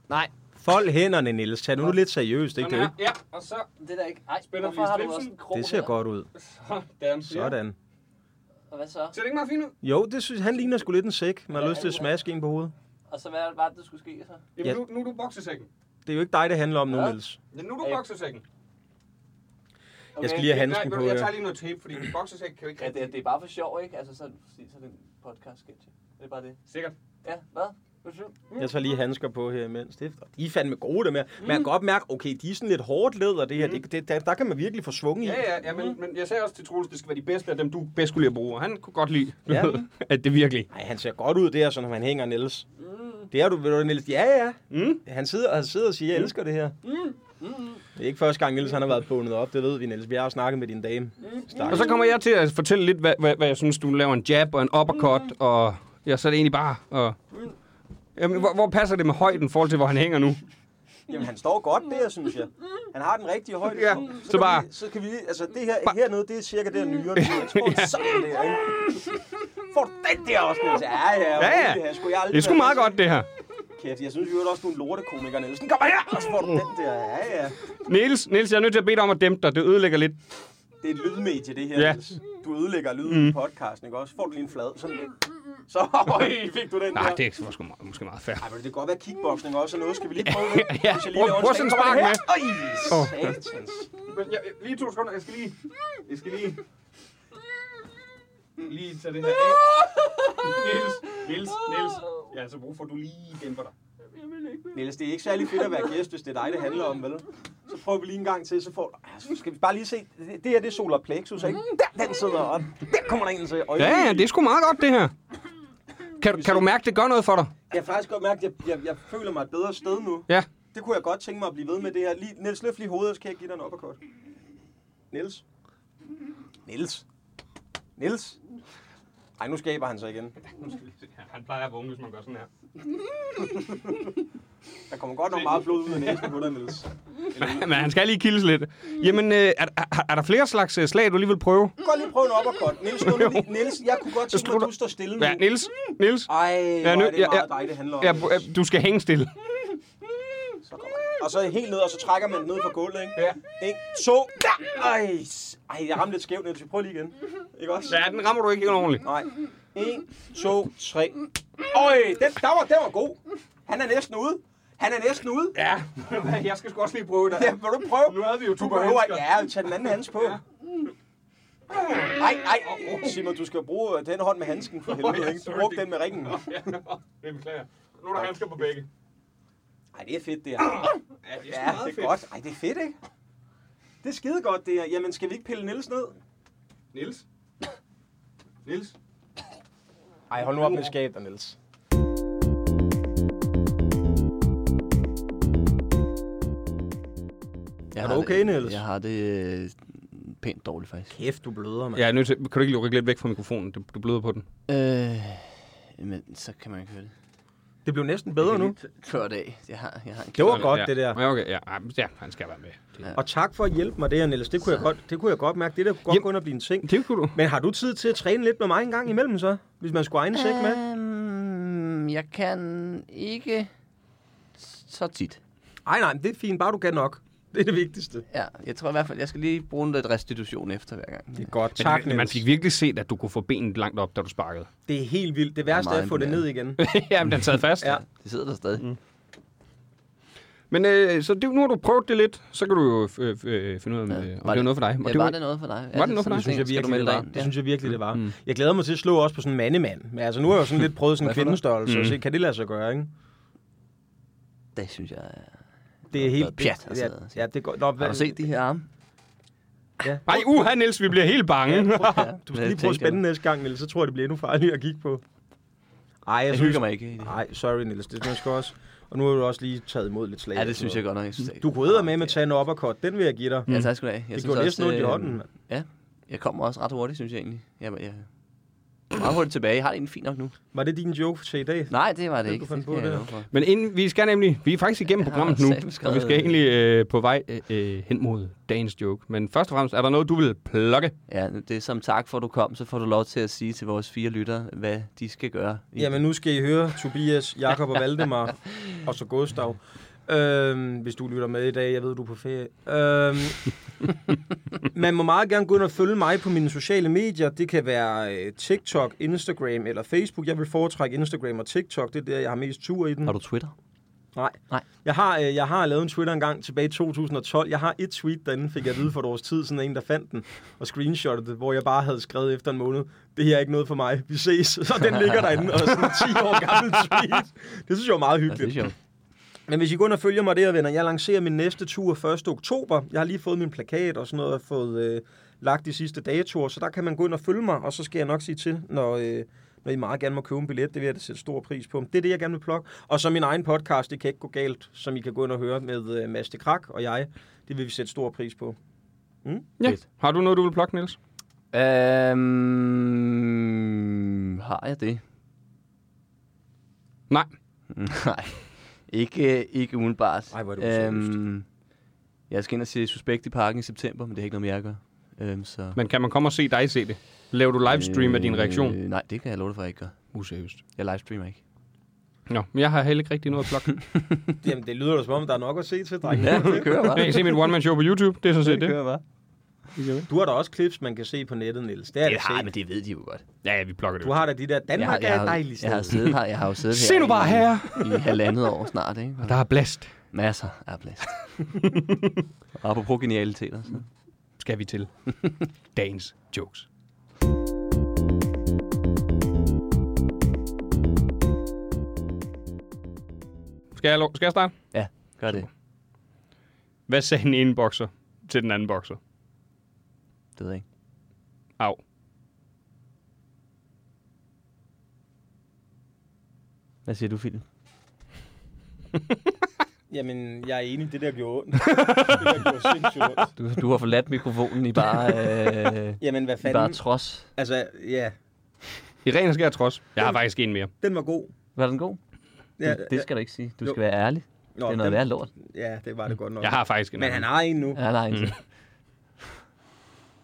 Nej.
Fold hænderne, Niels. Tag nu lidt seriøst, ikke? Det, er jo
Sådan
ikke-
her. Ja, og så...
Det der ikke. Ej,
Spænder hvorfor lige har du også stripsen.
det ser godt ud.
Sådan. Sådan.
Sådan.
Og hvad så?
Ser det ikke meget fint ud?
Jo, det synes, han ligner sgu lidt en sæk. Man har lyst til at smaske en på hovedet.
Og så hvad var det, der skulle ske så?
Jamen,
Ja.
nu, nu er du boksesækken.
Det er jo ikke dig, det handler om nu,
Ja.
Niels.
Ja, nu er du boksesækken.
Okay.
Jeg skal lige have handsken
Nej, ved
på.
du, jeg
ja.
tager lige noget tape, fordi en boksesæk kan jo ikke...
Ja, det, det er bare for sjov, ikke? Altså, så, så er det en podcast sketch. Det er bare det.
Sikkert.
Ja, hvad? Undskyld.
Jeg tager lige handsker på her imens. Det er- De er fandme gode, dem her.
Mm.
Man kan godt mærke, okay, de er sådan lidt hårdt læder, det her. Det, det, der, der kan man virkelig få svung i.
Ja, ja, ja men, men jeg sagde også til Troels, det skal være de bedste af dem, du bedst kunne lide at bruge. Og han kunne godt lide, du
Ja.
ved, at det virkelig...
Ej, han ser godt ud der, så når han hænger, Niels. Det er du, ved du, Niels? Ja, ja.
Mm.
Han sidder, han sidder og siger, jeg elsker det her. Det er ikke første gang, Niels han har været bundet op. Det ved vi, Niels. Vi har snakket med din dame.
Mm.
Stak.
Og så kommer jeg til at fortælle lidt, hvad, hvad, hvad jeg synes, du laver en jab og en uppercut, og ja, så er det egentlig bare... Og, jamen, hvor, hvor passer det med højden i forhold til, hvor han hænger nu?
Jamen, han står godt der, synes jeg. Han har den rigtige højde.
Ja, så
kan
bare- Mm.
Vi, så kan vi lige- altså det her hernede, det er cirka der nyere. Jeg tror, det er sådan der, ikke? Får du den der også, Niels? Ja, ja.
Ja, ja.
rolig her. Skulle jeg aldrig
Det er sgu
være
meget
med til-
godt, det her.
Kæft, jeg synes jo også, du er en lortekomiker, Nielsen. Kom her, og så får du
Mm.
den der. Ja, ja.
Niels, Niels, jeg er nødt til at bede dig om at dæmpe dig. Det ødelægger lidt.
Det er et lydmedie, det her,
Ja.
ja. Niels. Du ødelægger lyden mm. i podcasten, ikke også? Får du lige en flad, sådan lidt. Så øj, fik du den
Nej,
der.
det er sgu meget, måske meget fair.
Ej, men det kan godt være kickboxing også, og noget skal vi lige prøve det.
Ja,
Hvis jeg
prøv-
laver
prøv
en
sådan en
slag, kommer
spark
det her. Øj, satans.
Men jeg, jeg- lige to sekunder, jeg skal lige... Jeg skal lige... Lige tage det her af. Niels, Niels, Niels. Jeg har altså brug for, at du lige dæmper dig.
Niels, det er ikke særlig fedt at være gæst, hvis det er dig, det handler om, vel? Så prøver vi lige en gang til, så får du... Altså, skal vi bare lige se. Det, det her, det er solar plexus, ikke? Der, den sidder, og der kommer der en til. Øj,
Ja, ja, det er sgu meget godt, det her. Kan, kan du mærke, det gør noget for dig?
Jeg har faktisk godt mærke, at jeg, jeg, jeg føler mig et bedre sted nu.
Ja.
Det kunne jeg godt tænke mig at blive ved med det her. Lige, Niels, løft lige hovedet, så kan jeg give dig en uppercut. Niels. Niels. Niels. Ej, nu skaber han sig igen.
Han plejer at vågne, hvis man gør sådan her.
Der kommer godt nok meget blod ud af næsen på dig, Niels.
Men han skal lige kildes lidt. Jamen, øh, er, er, er der flere slags øh, slag, du lige vil prøve?
Godt lige prøve en uppercut. Niels, nu, nu- Niels, jeg kunne godt tænke mig, at
slutter-
du står stille nu.
Ja, Niels, Niels,
Ej, hvor er
nu-
det
ja,
meget
ja.
dig, det handler om.
ja, øh, du skal hænge stille.
Så kommer den. Og så helt ned, og så trækker man den ned fra gulvet, ikke? Ja. En, to, der. Ej, s- ej, jeg ramte lidt skævt, Niels. Vi prøver lige igen. Ikke også?
Ja, den rammer du ikke helt ordentligt.
Nej. En, to, tre. Øj, den, der var, den var god. Han er næsten ude. Han er næsten ude.
Ja, jeg skal sgu også lige prøve det.
Ja, vil du prøve?
Nu havde vi jo
Du
to
behøver
mennesker.
Ja, tag den anden hans på. Ej, ej, Simon, du skal bruge øh, den hånd med handsken for helvede, ikke? Du brugte den med ringen.
Ja, det beklager. Nu er der handsker på begge.
Ej, det er fedt, det her.
Ja, det
Ja, det er godt. Ej, det er fedt, ikke? Det er skide godt, det her. Jamen, skal vi ikke pille Niels ned?
Niels? Niels?
Ej, hold nu op med skabet, Niels.
Jeg
Er
har
du okay,
det,
Niels?
Jeg har det øh, pænt dårligt, faktisk.
Kæft, du bløder, mand.
Jeg er nødt til, kan du ikke rykke lidt væk fra mikrofonen? Du, du bløder på den.
Øh, men så kan man ikke høre det.
Det blev næsten bedre nu.
Kørt af. Jeg har, jeg har en
Det var
Sådan,
godt,
ja.
det der.
Ja, okay, ja. Ej, men ja, han skal være med. Det,
Og tak for at hjælpe mig der, Niels. Det kunne, jeg godt, det kunne jeg godt mærke. Det der kunne godt
Jamen-
gå ind og blive en ting.
det kunne du.
Men har du tid til at træne lidt med mig en gang imellem så? Hvis man skulle egne sæk
Øh.
med?
Øhm, jeg kan ikke så tit.
Ej, nej, men det er fint. Bare du kan nok. Det er det vigtigste.
Ja, jeg tror i hvert fald, jeg skal lige bruge lidt restitution efter hver gang.
Det er godt.
Men
Tak,
man, man
Niels.
fik virkelig set, at du kunne få benet langt op, da du sparkede.
Det er helt vildt. Det værste
meget
er at få det ned igen.
Jamen, den sad fast.
Ja.
Det sidder der stadig. Mm.
Men øh, så det, nu har du prøvet det lidt, så kan du jo øh, øh, finde ud af, om,
Ja.
øh, om
Var
det er noget for dig. Og
Ja,
det
var det noget for dig? Er
det noget for dig? Det
sådan en ting,
synes
skal
jeg
du
virkelig, det
melde dig
var.
ind? Mm.
Det
Ja.
synes jeg virkelig, det var. Jeg glæder mig til at slå også på sådan en mandemand. Men altså, nu har jeg jo sådan lidt prøvet sådan en
Hvad for noget? Mm.
kvindestørrelse, og se, kan det lade sig gøre, ikke?
Det synes jeg er...
Det er helt...
Noget pjat,
ja,
altså.
ja, det går... Nå,
Har du set de her arme?
Nej, uha, Niels, vi bliver helt bange.
Ja,
Du skal lige prøve at spænde næste gang, Niels, så tror jeg, det bliver endnu farligere at kigge på. Ej, jeg,
Jeg
synes... Ah,
hygger mig ikke. i det.
Nej, sorry, Niels, det man skal også... Og nu har du også lige taget imod lidt slag.
Ja,
og sådan
det synes jeg
noget.
godt nok. Jeg synes, det er-
Du kunne med med at tage en uppercut, den vil jeg give dig.
Ja, tak skal du have. Jeg
Det
synes
gjorde
også,
næsten ondt i
øh,
hånden, mand.
Ja, jeg kommer også ret hurtigt, synes jeg egentlig. Jeg, jeg, jeg er meget hurtigt tilbage. Jeg har det egentlig fint nok nu.
Var det din joke til i dag?
Nej, det var det
du
ikke.
fandt på
skal
det.
jeg love for.
Men inden, vi skal nemlig, vi er faktisk igennem
Jeg har
programmet nu,
satme
og
skrevet-
vi skal egentlig øh, på vej øh, øh, hen mod dagens joke. Men først og fremmest, er der noget, du vil plukke?
Ja, det er som tak for, at du kom, så får du lov til at sige til vores fire lyttere, hvad de skal gøre.
Jamen, nu skal I høre Tobias, Jakob og Valdemar, og så Gustav. Øhm, hvis du lytter med i dag, jeg ved, du er på ferie. Øhm, man må meget gerne gå ind og følge mig på mine sociale medier. Det kan være øh, TikTok, Instagram eller Facebook. Jeg vil foretrække Instagram og TikTok. Det er der, jeg har mest tur i den.
Har du Twitter?
Nej.
Nej.
Jeg har, øh, jeg har lavet en Twitter engang tilbage i 2012. Jeg har et tweet derinde, fik jeg at vide for et års tid, sådan en, der fandt den og screenshottede det, hvor jeg bare havde skrevet efter en måned, det her er ikke noget for mig, vi ses. Så den ligger derinde, og sådan en 10 år gammel tweet. Det synes jeg var meget
Ja, det er
hyggeligt.
sjovt.
Men hvis I går ind og følger mig der, venner, jeg lancerer min næste tur 1. oktober. Jeg har lige fået min plakat og sådan noget, og fået øh, lagt de sidste datoer, så der kan man gå ind og følge mig, og så skal jeg nok sige til, når, øh, når I meget gerne må købe en billet. Det vil jeg da sætte stor pris på. Det er det, jeg gerne vil plukke. Og så min egen podcast, Det kan ikke gå galt, som I kan gå ind og høre med øh, Mads de Krak og jeg. Det vil vi sætte stor pris på.
Ja. Har du noget, du vil plukke, Niels?
Øhm, har jeg det?
Nej.
Nej, ikke, øh, ikke umiddelbart. Øhm,
Ej, hvor er det useriøst.
jeg skal ind og se Suspekt i parken i september, men det har ikke noget med jer at gøre. Øhm, så,
Men kan man komme og se dig se det? Laver du livestream af din reaktion?
Øh, nej, det kan jeg love dig for, at jeg ikke gør.
Useriøst.
Jeg livestreamer ikke.
Nå, men jeg har heller ikke rigtig noget at plukke.
Jamen, det lyder da som om, der er nok at se til, drenge.
Ja, det kører
Jeg
bare.
kan se mit one-man-show på YouTube, det er sådan set det.
kører bare.
Du har da også clips, man kan se på nettet, Niels. Det er det
Ja,
set.
men det ved de jo godt.
Ja, ja, vi plukker det.
Du har da de der,
Jeg, har-
Danmark
jeg,
er et
har,
dejligt
jeg, har,
sted.
siddet her, jeg har jo siddet her,
Se nu bare
i,
her!
i halvandet år snart, ikke? Og
Der er blæst.
masser af plads. Og apropos genialiteter. Så.
Skal vi til dagens jokes. Skal jeg, lo- skal jeg starte?
Ja, gør det.
Hvad sagde den ene bokser til den anden bokser?
Det ved jeg ikke.
Au.
Hvad siger du, Philip?
Jamen, jeg er enig, det der gjorde ondt. det der gjorde sindssygt ondt.
Du, du har forladt mikrofonen i bare, øh,
Jamen, hvad
i
fanden?
bare trods.
Altså, ja,
I ren og skær trods. Jeg har faktisk en mere.
den var god.
Var den god?
Ja,
det, det skal du ikke sige. Du
Jo.
skal være ærlig.
Nå,
Det er noget
den- Uh.
værd lort.
Ja, det var det godt nok.
Jeg har faktisk en
Men han
anden.
har en nu.
Ja, nej. Mm.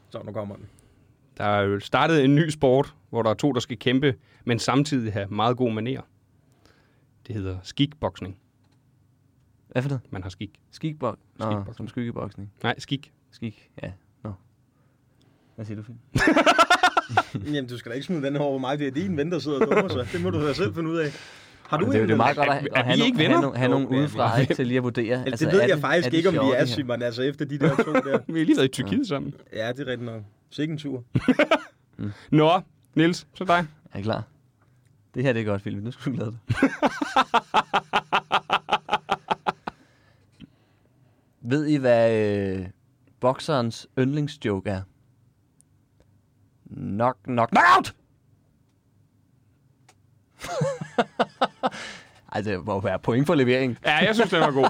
Så nu kommer den.
Der er jo startet en ny sport, hvor der er to, der skal kæmpe, men samtidig have meget god maner. Det hedder skikboksning.
Hvad for noget?
Man har skik.
Skikbok? Nå,
Skikboksning.
som skyggeboksning.
Nej, skik.
Skik, ja. Nå. Hvad siger du, Finn?
Jamen, du skal da ikke smide den her over på mig. Det er din ven, der sidder og dummer sig. Det må du da selv finde ud af. Har du
det, er jo-
en
det er
ven?
meget godt at,
Er-
at,
er
have,
vi
nogle-
ikke
have,
venner?
nogle, have nogen udefra ikke, til lige at vurdere.
Altså, det ved
er
jeg
det-
faktisk
det
ikke, om vi
sjovt,
er,
det her?
Simon. Altså, efter de der to der.
Vi har lige været i Tyrkiet sammen.
Ja, det er rigtigt nok. Sikke en tur.
Nå, Nils, så dig.
Er I klar? Det her det er godt, Philip. Nu skal du glæde dig. Ved I, hvad øh, bokserens yndlingsjoke er? Knock, knock, knock out! Ej, det må være point for levering.
Ja, jeg synes, den var god.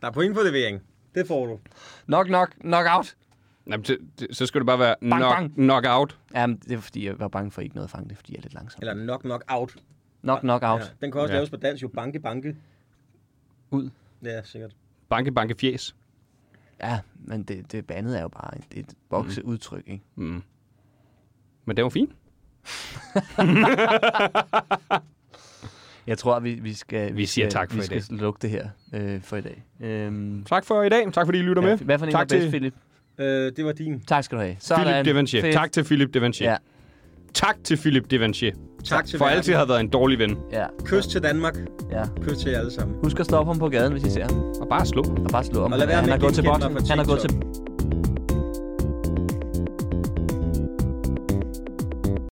Der er point for levering. Det får du.
Knock, knock, knock out!
Jamen, så, så skal det bare være
Bang,
knock,
bang.
knock out.
Jamen, det er fordi, jeg var bange for ikke noget at fange det, er, fordi jeg er lidt langsom.
Eller knock, knock, out.
Knock, knock out.
Ja, den kan også
Ja.
ja. laves på dansk jo. Banke, banke.
Ud.
Ja, sikkert.
Banke, banke, fjes.
Ja, men det, det bandet er jo bare det er et bokseudtryk, ikke?
Mm. Men det var fint.
Jeg tror, vi, vi skal,
Vi siger
skal,
tak for
vi
i
skal
dag.
lukke det her øh, for i dag. Øhm,
Tak for i dag. Tak fordi I lytter med.
hvad for en
tak
var bedst,
til
Philip?
Øh, det var din.
Tak skal du have. Sådan.
Philip Devanchier.
Fedt.
Tak til Philip Devanchier.
Ja,
Tak til Philip Devanchier.
Tak til
For
verden.
altid har været en dårlig ven.
ja,
Kys til Danmark.
ja.
Kys til jer alle sammen.
Husk at stoppe ham på gaden, hvis I ser ham.
Og bare slå.
Og bare slå om.
Og lad være
han
med
har
at
gået til
genkende mig
boksen.
fra
Han har gået
TikTok.
til